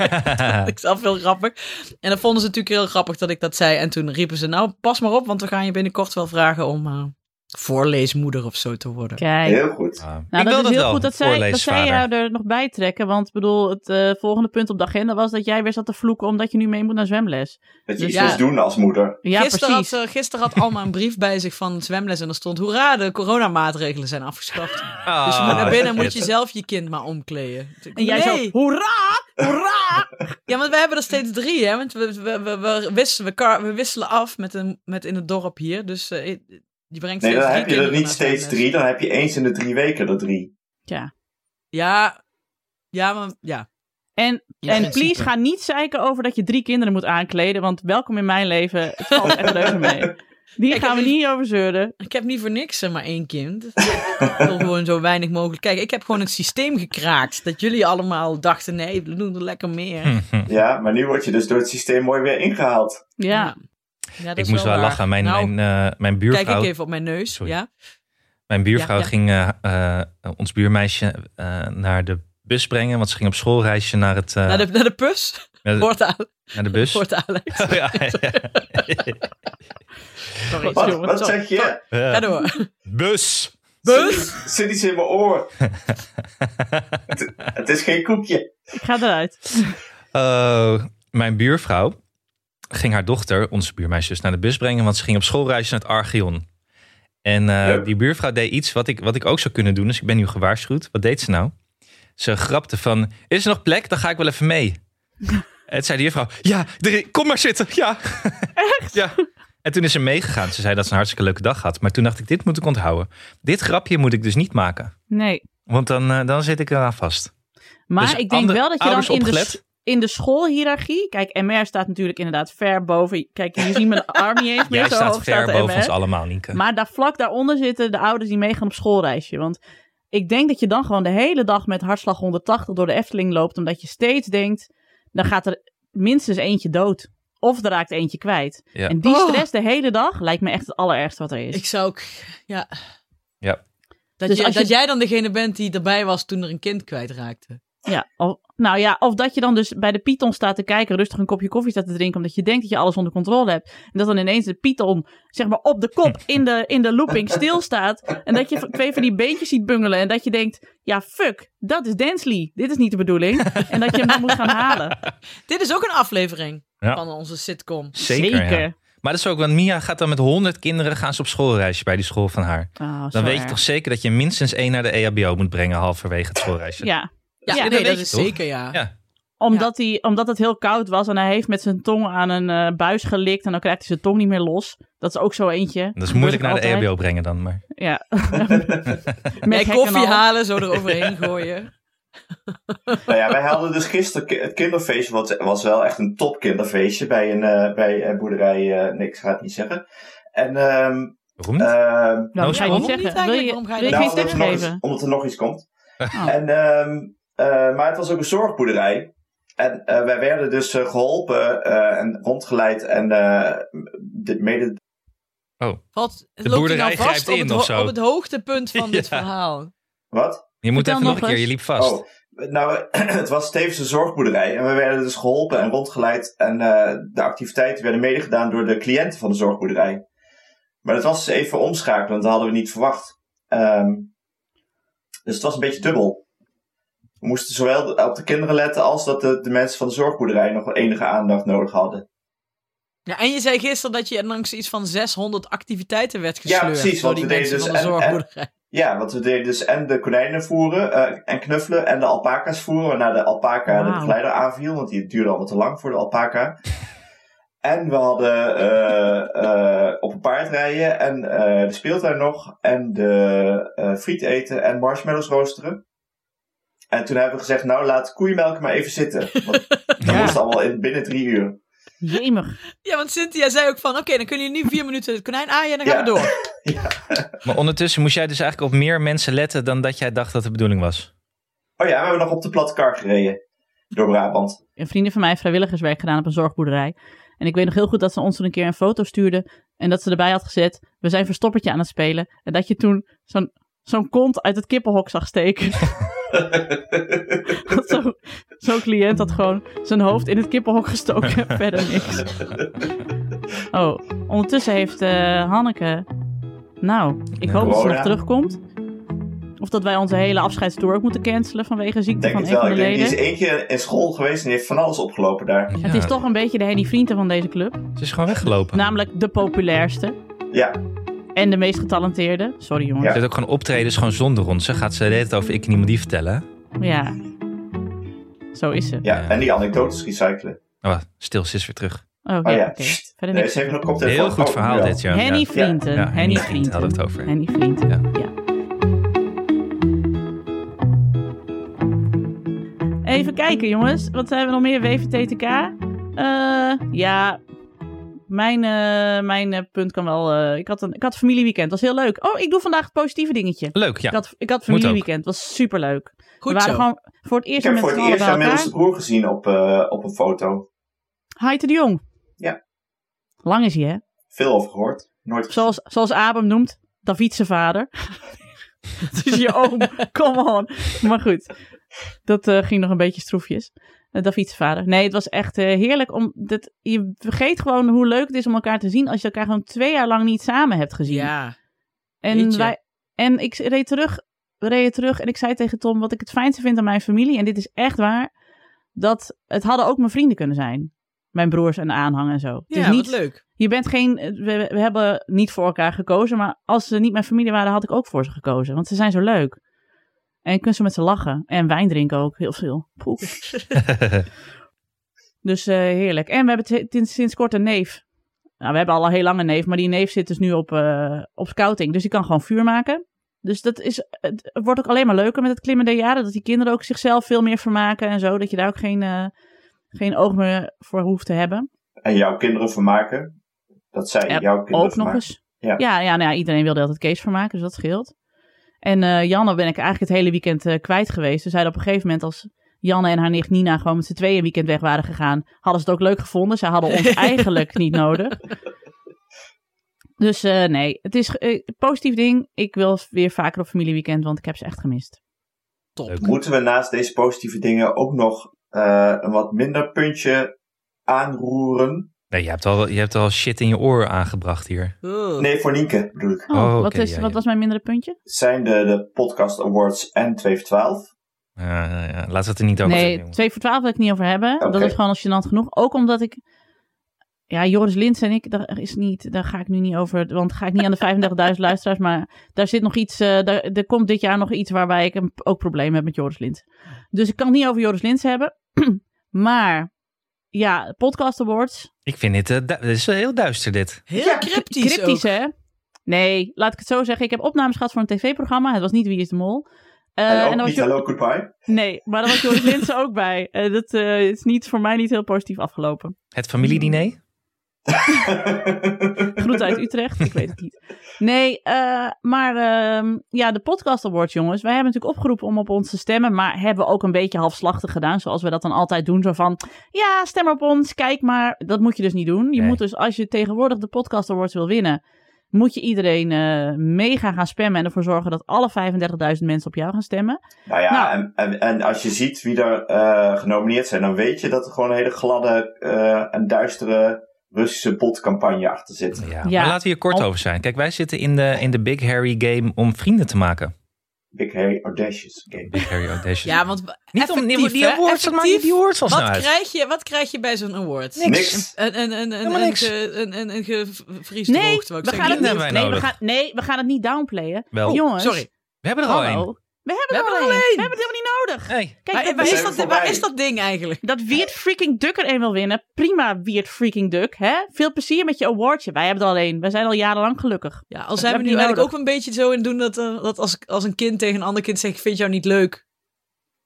B: Dat ik zelf heel grappig. En dat vonden ze natuurlijk heel grappig dat ik dat zei. En toen riepen ze, nou, pas maar op, want we gaan je binnenkort wel vragen om eh, voorleesmoeder of zo te worden.
C: Kijk.
D: Heel goed.
E: Ah,
C: Nou,
E: ik
C: dat
E: wil
C: is heel
E: wel,
C: goed dat zij, dat zij
E: voorleesvader.
C: jou er nog bij trekken. Want ik bedoel, het eh, volgende punt op de agenda was dat jij weer zat te vloeken omdat je nu mee moet naar zwemles.
D: Dat je
C: Dus
D: iets
B: ja.
D: moest doen als moeder.
C: Ja,
B: gisteren,
C: precies.
B: Had, eh, gisteren had Alma een brief bij zich van zwemles en er stond... Hoera, de coronamaatregelen zijn afgeschaft.
E: Ah,
B: dus je moet naar binnen
E: shit.
B: moet je zelf je kind maar omkleden.
C: en jij zo, hoera, hoera.
B: Ja, want we hebben er steeds drie, hè. Want we, we, we, we, wisselen, we, kar- we wisselen af met, een, met in het dorp hier. Dus eh, je brengt
D: Nee,
B: steeds drie
D: dan heb je er
B: kinderen
D: niet
B: naar
D: steeds
B: zwemles.
D: drie. Dan heb je eens in de drie weken er drie.
C: ja.
B: Ja, ja, maar ja.
C: En,
B: Ja,
C: en
B: in principe.
C: please, ga niet zeiken over dat je drie kinderen moet aankleden. Want welkom in mijn leven. Het valt echt leuker mee. Hier
B: Ik
C: gaan we
B: heb-
C: niet
E: dus-
C: over zeuren.
B: Ik heb niet voor niks eh, maar één kind. Ik wil gewoon zo weinig mogelijk. Kijk, ik heb gewoon het systeem gekraakt. Dat jullie allemaal dachten, nee, we doen er lekker meer.
D: Ja, maar nu word je dus door het systeem mooi weer ingehaald.
C: Ja.
B: Ja, dat
E: Ik
B: is
E: moest wel
B: waar.
E: lachen. Mijn,
B: Nou,
E: mijn, eh, mijn buurvrouw,
B: Kijk ik even op mijn neus.
E: Sorry.
B: Ja.
E: mijn buurvrouw
B: Ja, ja.
E: ging eh, eh, ons buurmeisje eh, naar de bus brengen. Want ze ging op schoolreisje naar, het, eh,
B: Naar, de, naar de pus.
E: naar de-
B: Hoort, Ale-
E: naar de bus.
B: hoort Alex.
E: Oh, ja, ja.
B: Sorry,
D: Wat,
B: jongen.
D: wat
B: Sorry.
D: zeg je?
E: Eh,
B: Ga door.
E: bus!
B: Bus?
D: Zit- Zit iets in mijn oor. het, het is geen koekje.
C: Ik ga eruit.
E: Oh, mijn buurvrouw ging haar dochter, onze buurmeisje, dus naar de bus brengen. Want ze ging op schoolreis naar het Archeon. En eh,
D: Leuk.
E: die buurvrouw deed iets wat ik, wat ik ook zou kunnen doen. Dus ik ben nu gewaarschuwd. Wat deed ze nou? Ze grapte van, is er nog plek? Dan ga ik wel even mee. en toen zei de juffrouw, ja, er- kom maar zitten. Ja. Echt? ja. En toen is ze meegegaan. Ze zei dat ze een hartstikke leuke dag had. Maar toen dacht ik, dit moet ik onthouden. Dit grapje moet ik dus niet maken.
C: Nee.
E: Want dan, eh, dan zit ik eraan vast.
C: Maar
E: Dus
C: ik denk
E: andere
C: wel dat je
E: ouders
C: dan in de,
E: opgelet?
C: s- in de schoolhiërarchie... Kijk, MR staat natuurlijk inderdaad ver boven... Kijk, je ziet mijn arm niet eens meer
E: Jij
C: zo
E: staat
C: hoog
E: ver
C: de
E: boven
C: MR.
E: ons allemaal, Nienke.
C: Maar daar vlak daaronder zitten de ouders die meegaan op schoolreisje. Want ik denk dat je dan gewoon de hele dag met hartslag 180 door de Efteling loopt. Omdat je steeds denkt, dan gaat er minstens eentje dood. Of er raakt eentje kwijt.
E: Ja.
C: En die
B: Oh.
C: stress de hele dag lijkt me echt het allerergste wat er is.
B: Ik zou ook... Ja.
E: Ja.
B: Dat,
C: Dus
B: je,
C: als je-
B: dat jij dan degene bent die erbij was toen er een kind kwijtraakte.
C: Ja, of, nou ja, of dat je dan dus bij de Python staat te kijken, rustig een kopje koffie staat te drinken, omdat je denkt dat je alles onder controle hebt. En dat dan ineens de Python, zeg maar, op de kop in de, in de looping stilstaat. En dat je van- twee van die beentjes ziet bungelen. En dat je denkt, ja, fuck, dat is Densley. Dit is niet de bedoeling. En dat je hem dan moet gaan halen.
B: Dit is ook een aflevering
E: Ja.
B: van onze sitcom.
E: Zeker. ja. Maar dat is ook, want Mia gaat dan met honderd kinderen gaan ze op schoolreisje bij die school van haar.
C: Oh, zo
E: Dan weet je
C: erg.
E: toch zeker dat je minstens één naar de E EHBO moet brengen halverwege het schoolreisje.
C: Ja,
B: Ja,
C: Ja,
B: nee,
E: dat
B: dat,
E: weet
B: is
E: je toch?
B: zeker, ja.
E: Ja.
C: omdat, hij, omdat het heel koud was en hij heeft met zijn tong aan een eh, buis gelikt. En dan krijgt hij zijn tong niet meer los. Dat is ook zo eentje.
E: Dat is moeilijk naar
C: Gebeurt
E: de
C: altijd.
E: E EHBO brengen dan, maar
C: Ja.
B: Nee,
C: Met
B: koffie
C: halen.
B: halen, zo eroverheen gooien.
D: Nou ja, wij hadden dus gisteren ki- het kinderfeestje. Wat was wel echt een top kinderfeestje bij een eh, bij eh, boerderij. eh niks ga het niet zeggen. En ehm
E: waarom niet?
D: ehm
C: Nou,
E: Nou,
C: dat ga je
E: waarom
C: niet
E: niet
C: zeggen. Wil
B: eigenlijk?
C: je,
B: Waarom ga je
C: wil je
B: dat
C: geen
D: nou,
C: tip
D: omdat, er nog iets,
C: geven?
D: omdat er nog iets komt.
C: Oh.
D: En, ehm, eh, maar het was ook een zorgboerderij. En eh, wij werden dus eh, geholpen eh, en rondgeleid en eh, dit mede
B: Wat, loopt
E: boerderij
B: hij nou vast
E: grijpt
B: op
E: in
B: het,
E: of
B: ho-
E: zo.
B: op het hoogtepunt van dit
E: Ja.
B: verhaal.
D: Wat?
E: je moet
C: vertel
E: even nog
C: nog
E: een keer,
C: eens.
E: je liep vast.
D: Oh, nou, het was tevens een zorgboerderij. En we werden dus geholpen en rondgeleid. En eh, de activiteiten werden medegedaan door de cliënten van de zorgboerderij. Maar dat was dus even omschakelen, want dat hadden we niet verwacht. Ehm, dus het was een beetje dubbel. We moesten zowel op de kinderen letten als dat de, de mensen van de zorgboerderij nog wel enige aandacht nodig hadden.
B: Ja, en je zei gisteren dat je langs iets van 600 activiteiten werd
D: Ja,
B: gesleurd.
D: precies,
B: Door
D: want
B: die
D: we deden
B: mensen van de
D: dus en- en-
B: zorgboerderij.
D: Ja, want we deden dus en de konijnen voeren eh, en knuffelen en de alpaca's voeren. Waarna de alpaca de
C: Wauw.
D: begeleider aanviel, want die duurde allemaal te lang voor de alpaca. en we hadden eh, eh, op een paard rijden en eh, de speeltuin nog. En de eh, friet eten en marshmallows roosteren. En toen hebben we gezegd, nou laat koeienmelk maar even zitten. Want dat
C: Ja.
D: moest allemaal in, binnen drie uur.
C: Jemig.
B: Ja, want Cynthia zei ook van, oké, dan kunnen jullie nu vier minuten het konijn aaien en dan gaan we
D: Ja.
B: door.
E: Maar ondertussen moest jij dus eigenlijk op meer mensen letten dan dat jij dacht dat de bedoeling was.
D: Oh ja, we hebben nog op de platte kar gereden. Door Brabant.
C: Een vriendin van mij heeft vrijwilligerswerk gedaan op een zorgboerderij. En ik weet nog heel goed dat ze ons toen een keer een foto stuurde. En dat ze erbij had gezet, we zijn verstoppertje aan het spelen. En dat je toen zo'n zo'n kont uit het kippenhok zag steken. Dat zo- Zo'n cliënt had gewoon zijn hoofd in het kippenhok gestoken. Verder niks. Oh, ondertussen heeft eh, Hanneke... Nou, ik hoop dat ze nog
D: Corona.
C: terugkomt. Of dat wij onze hele afscheidstour ook moeten cancelen vanwege
D: ik
C: ziekte
D: denk
C: van
D: het
C: een van
D: wel.
C: de
D: Ik denk, die
C: leden.
D: is één keer in school geweest en die heeft van alles opgelopen daar.
E: Ja,
C: Het is toch Nou. een beetje de Henny Vrienden van deze club.
E: Ze is gewoon weggelopen.
C: Namelijk de populairste
D: Ja,
C: en de meest getalenteerde. Sorry jongens.
E: Ze heeft ook gewoon optredens gewoon zonder ons. Ze gaat ze de hele tijd over ik en iemand die vertellen.
C: Ja. Zo is ze.
D: ja. en die anekdotes recyclen.
E: Oh, wacht, stil, ze is weer terug.
C: Oh,
D: Oh
C: ja,
D: ja,
C: oké.
D: Sst.
C: Verder
D: Nee,
C: niks.
D: ze heeft een koptelefoon.
E: Heel goed
D: Oh,
E: verhaal
D: ja.
E: dit, ja.
C: Henny
E: Ja.
C: Vrienden.
E: Ja,
C: Henny
E: Henny
C: Vrienden.
E: Vrienden, hadden we het over.
C: Henny Vrienden. Ja. Even kijken, jongens. Wat hebben we nog meer? WVTTK? Eh, ja. Mijn, eh, mijn eh, punt kan wel. eh, ik, had een, ik had een familieweekend. was heel leuk. Oh, ik doe vandaag het positieve dingetje.
E: Leuk, ja.
C: Ik had, ik had
E: Moet ook.
C: familieweekend. was superleuk. we
B: Goed
C: waren
B: zo.
C: gewoon voor het
D: Ik
C: eerst
D: heb
C: met
D: voor
C: z'n
D: het
C: allen
D: eerst
C: bij
D: mijn middelste
C: elkaar.
D: broer gezien op, eh, op een foto.
C: Haite de Jong.
D: Ja.
C: Lang is hij, hè?
D: Veel over gehoord. Nooit
C: Zoals, zoals Abem noemt, David zijn vader. Het is je oom, come on. Maar goed, dat eh, ging nog een beetje stroefjes. Eh, David zijn vader. Nee, het was echt eh, heerlijk. Om dit, je vergeet gewoon hoe leuk het is om elkaar te zien als je elkaar gewoon twee jaar lang niet samen hebt gezien.
B: Ja.
C: En,
B: Jeetje.
C: wij, en ik reed terug, we reden terug en ik zei tegen Tom wat ik het fijnste vind aan mijn familie. En dit is echt waar. Dat het hadden ook mijn vrienden kunnen zijn. Mijn broers en aanhang en zo. Het
B: Ja,
C: is niet,
B: wat leuk.
C: Je bent geen, we, we hebben niet voor elkaar gekozen. Maar als ze niet mijn familie waren, had ik ook voor ze gekozen. Want ze zijn zo leuk. En je kunt ze met ze lachen. En wijn drinken ook, heel veel. Poeh. Dus eh, heerlijk. En we hebben t- sinds- sinds kort een neef. Nou, we hebben al een heel lange neef, maar die neef zit dus nu op, eh, op scouting. Dus die kan gewoon vuur maken. Dus dat is, het wordt ook alleen maar leuker met het klimmen der jaren. Dat die kinderen ook zichzelf veel meer vermaken en zo. Dat je daar ook geen, eh, geen oog meer voor hoeft te hebben.
D: En jouw kinderen vermaken. Dat zij
C: Ja,
D: jouw kinderen
C: ook nog
D: vermaken.
C: eens. Ja,
D: Ja.
C: ja, nou ja iedereen wilde altijd Kees vermaken, dus dat scheelt. En eh, Janne ben ik eigenlijk het hele weekend eh, kwijt geweest. Ze zeiden op een gegeven moment als Janne en haar nicht Nina gewoon met z'n tweeën een weekend weg waren gegaan, hadden ze het ook leuk gevonden. Ze hadden ons eigenlijk niet nodig. Dus eh, nee, het is eh, een positief ding. Ik wil weer vaker op familieweekend, want ik heb ze echt gemist.
B: Top.
E: Leuk.
D: Moeten we naast deze positieve dingen ook nog eh, een wat minder puntje aanroeren?
E: Nee, je hebt, al, je hebt al shit in je oor aangebracht hier.
B: Oh.
D: Nee, voor Nienke bedoel ik.
C: Oh,
E: Oh,
C: wat,
E: oké,
C: is,
E: ja,
C: wat
E: ja.
C: was mijn mindere puntje?
D: Zijn de, de podcast awards en 212?
E: Eh, ja, laten we het er niet over hebben,
C: nee,
E: jongens.
C: 2 voor 12 wil ik niet over hebben. Dat
D: Oké.
C: is gewoon al gênant genoeg. Ook omdat ik... Ja, Joris Lins en ik, daar, is niet, daar ga ik nu niet over. Want ga ik niet aan de 35.000 luisteraars. Maar daar zit nog iets... eh, daar, er komt dit jaar nog iets waarbij ik een, ook problemen heb met Joris Lins. Dus ik kan het niet over Joris Lins hebben. maar ja, Podcast Awards.
E: Ik vind dit, eh, du- dit is wel heel duister dit.
B: Heel cryptisch,
C: Cryptisch,
B: ook.
C: hè? Nee, laat ik het zo zeggen. Ik heb opnames gehad voor een tv-programma. Het was niet Wie is de Mol. Eh,
D: en ook
C: dan
D: niet
C: Jo-
D: Hello Goodbye?
C: Nee, maar daar was Joris Linsen ook bij. Eh, dat eh, is niet, voor mij niet heel positief afgelopen.
E: Het familiediner?
C: Groet uit Utrecht, ik weet het niet. Nee, eh, maar ehm, ja, de podcast awards, jongens. Wij hebben natuurlijk opgeroepen om op ons te stemmen, maar hebben ook een beetje halfslachtig gedaan, zoals we dat dan altijd doen. Zo van, ja, stem op ons, kijk maar. Dat moet je dus niet doen. Je
E: Nee.
C: moet dus, als je tegenwoordig de podcast awards wil winnen, moet je iedereen eh, mega gaan spammen en ervoor zorgen dat alle 35.000 mensen op jou gaan stemmen.
D: nou ja,
C: Nou.
D: En, en, en als je ziet wie er eh, genomineerd zijn, dan weet je dat er gewoon een hele gladde eh, en duistere Russische botcampagne achter zit.
E: Ja.
C: Ja.
E: Maar laten we hier kort
C: Al-
E: over zijn. Kijk, wij zitten in de, in de Big Harry game om vrienden te maken.
D: Big Harry Audacious Game.
E: Big Harry Audacious.
B: Ja, want
E: niet om
B: effectief,
E: die, die
B: hè?
E: awards, wat maakt
B: Effectief.
E: die awards ons
B: Wat,
E: nou uit?
B: krijg je, wat krijg je bij zo'n award?
D: Niks.
B: Een, een, een, een,
E: Helemaal
B: een,
E: niks.
B: ge- een, een, een
E: Dus
B: gevriesde
C: Nee,
B: hoogte, wou ik
C: we
B: zeggen.
C: gaan het
E: Kinderen
C: niet,
E: hebben wij
C: nee, we
E: nodig.
C: gaan, nee, we gaan het niet downplayen.
E: Wel,
C: Jongens,
B: Sorry.
E: we hebben er al
C: Hallo.
E: één.
C: We hebben
B: We
C: er
B: hebben
C: al
B: er al
C: één.
B: één.
C: We hebben het helemaal niet nodig.
E: Hey.
C: Kijk,
B: Waar,
C: dat,
B: waar is
D: we
C: Weird-
D: zijn
B: dat,
D: er
B: waar
D: voorbij.
B: is dat ding eigenlijk?
C: dat Weird Freaking Duck er één wil winnen. Prima, Weird Freaking Duck. Hè? Veel plezier met je awardje. Wij hebben er al één. Wij zijn al jarenlang gelukkig.
B: Ja, al
C: heb
B: zijn we nu
C: je
B: eigenlijk
C: nodig.
B: ook een beetje zo in doen dat, eh, dat als, als een kind tegen een ander kind zegt, ik vind jou niet leuk.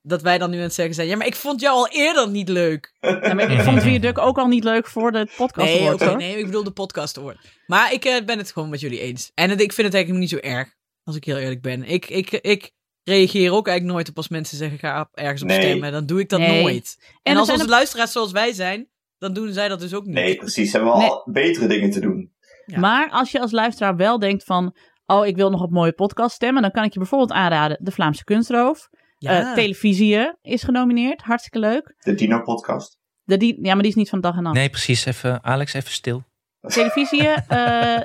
B: dat wij dan nu aan het zeggen zijn. Ja, maar ik vond jou al eerder niet leuk.
C: Ja, maar ik vond Viaduct ook al niet leuk voor de podcast
B: Nee,
C: award,
B: oké,
C: hoor.
B: nee, ik bedoel de podcast award. Maar ik eh, ben het gewoon met jullie eens. En het- ik vind het eigenlijk niet zo erg, als ik heel eerlijk ben. Ik, ik, ik reageer ook eigenlijk nooit op als mensen zeggen ga ergens op
D: Nee.
B: stemmen. Dan doe ik dat
C: Nee.
B: nooit. En,
C: er
B: als
C: zijn
B: onze
C: ook-
B: luisteraars zoals wij zijn, dan doen zij dat dus ook niet.
D: Nee, precies. Hebben we al betere dingen te doen.
B: Ja.
C: Maar als je als luisteraar wel denkt van... Oh, ik wil nog op mooie podcast stemmen. Dan kan ik je bijvoorbeeld aanraden De Vlaamse Kunstroof.
B: Ja.
C: Eh, televisie is genomineerd. Hartstikke leuk.
D: De Dino-podcast.
C: De, die, ja, maar die is niet van dag en nacht.
E: Nee, precies. Even, Alex, even stil.
C: Televisie, eh, eh,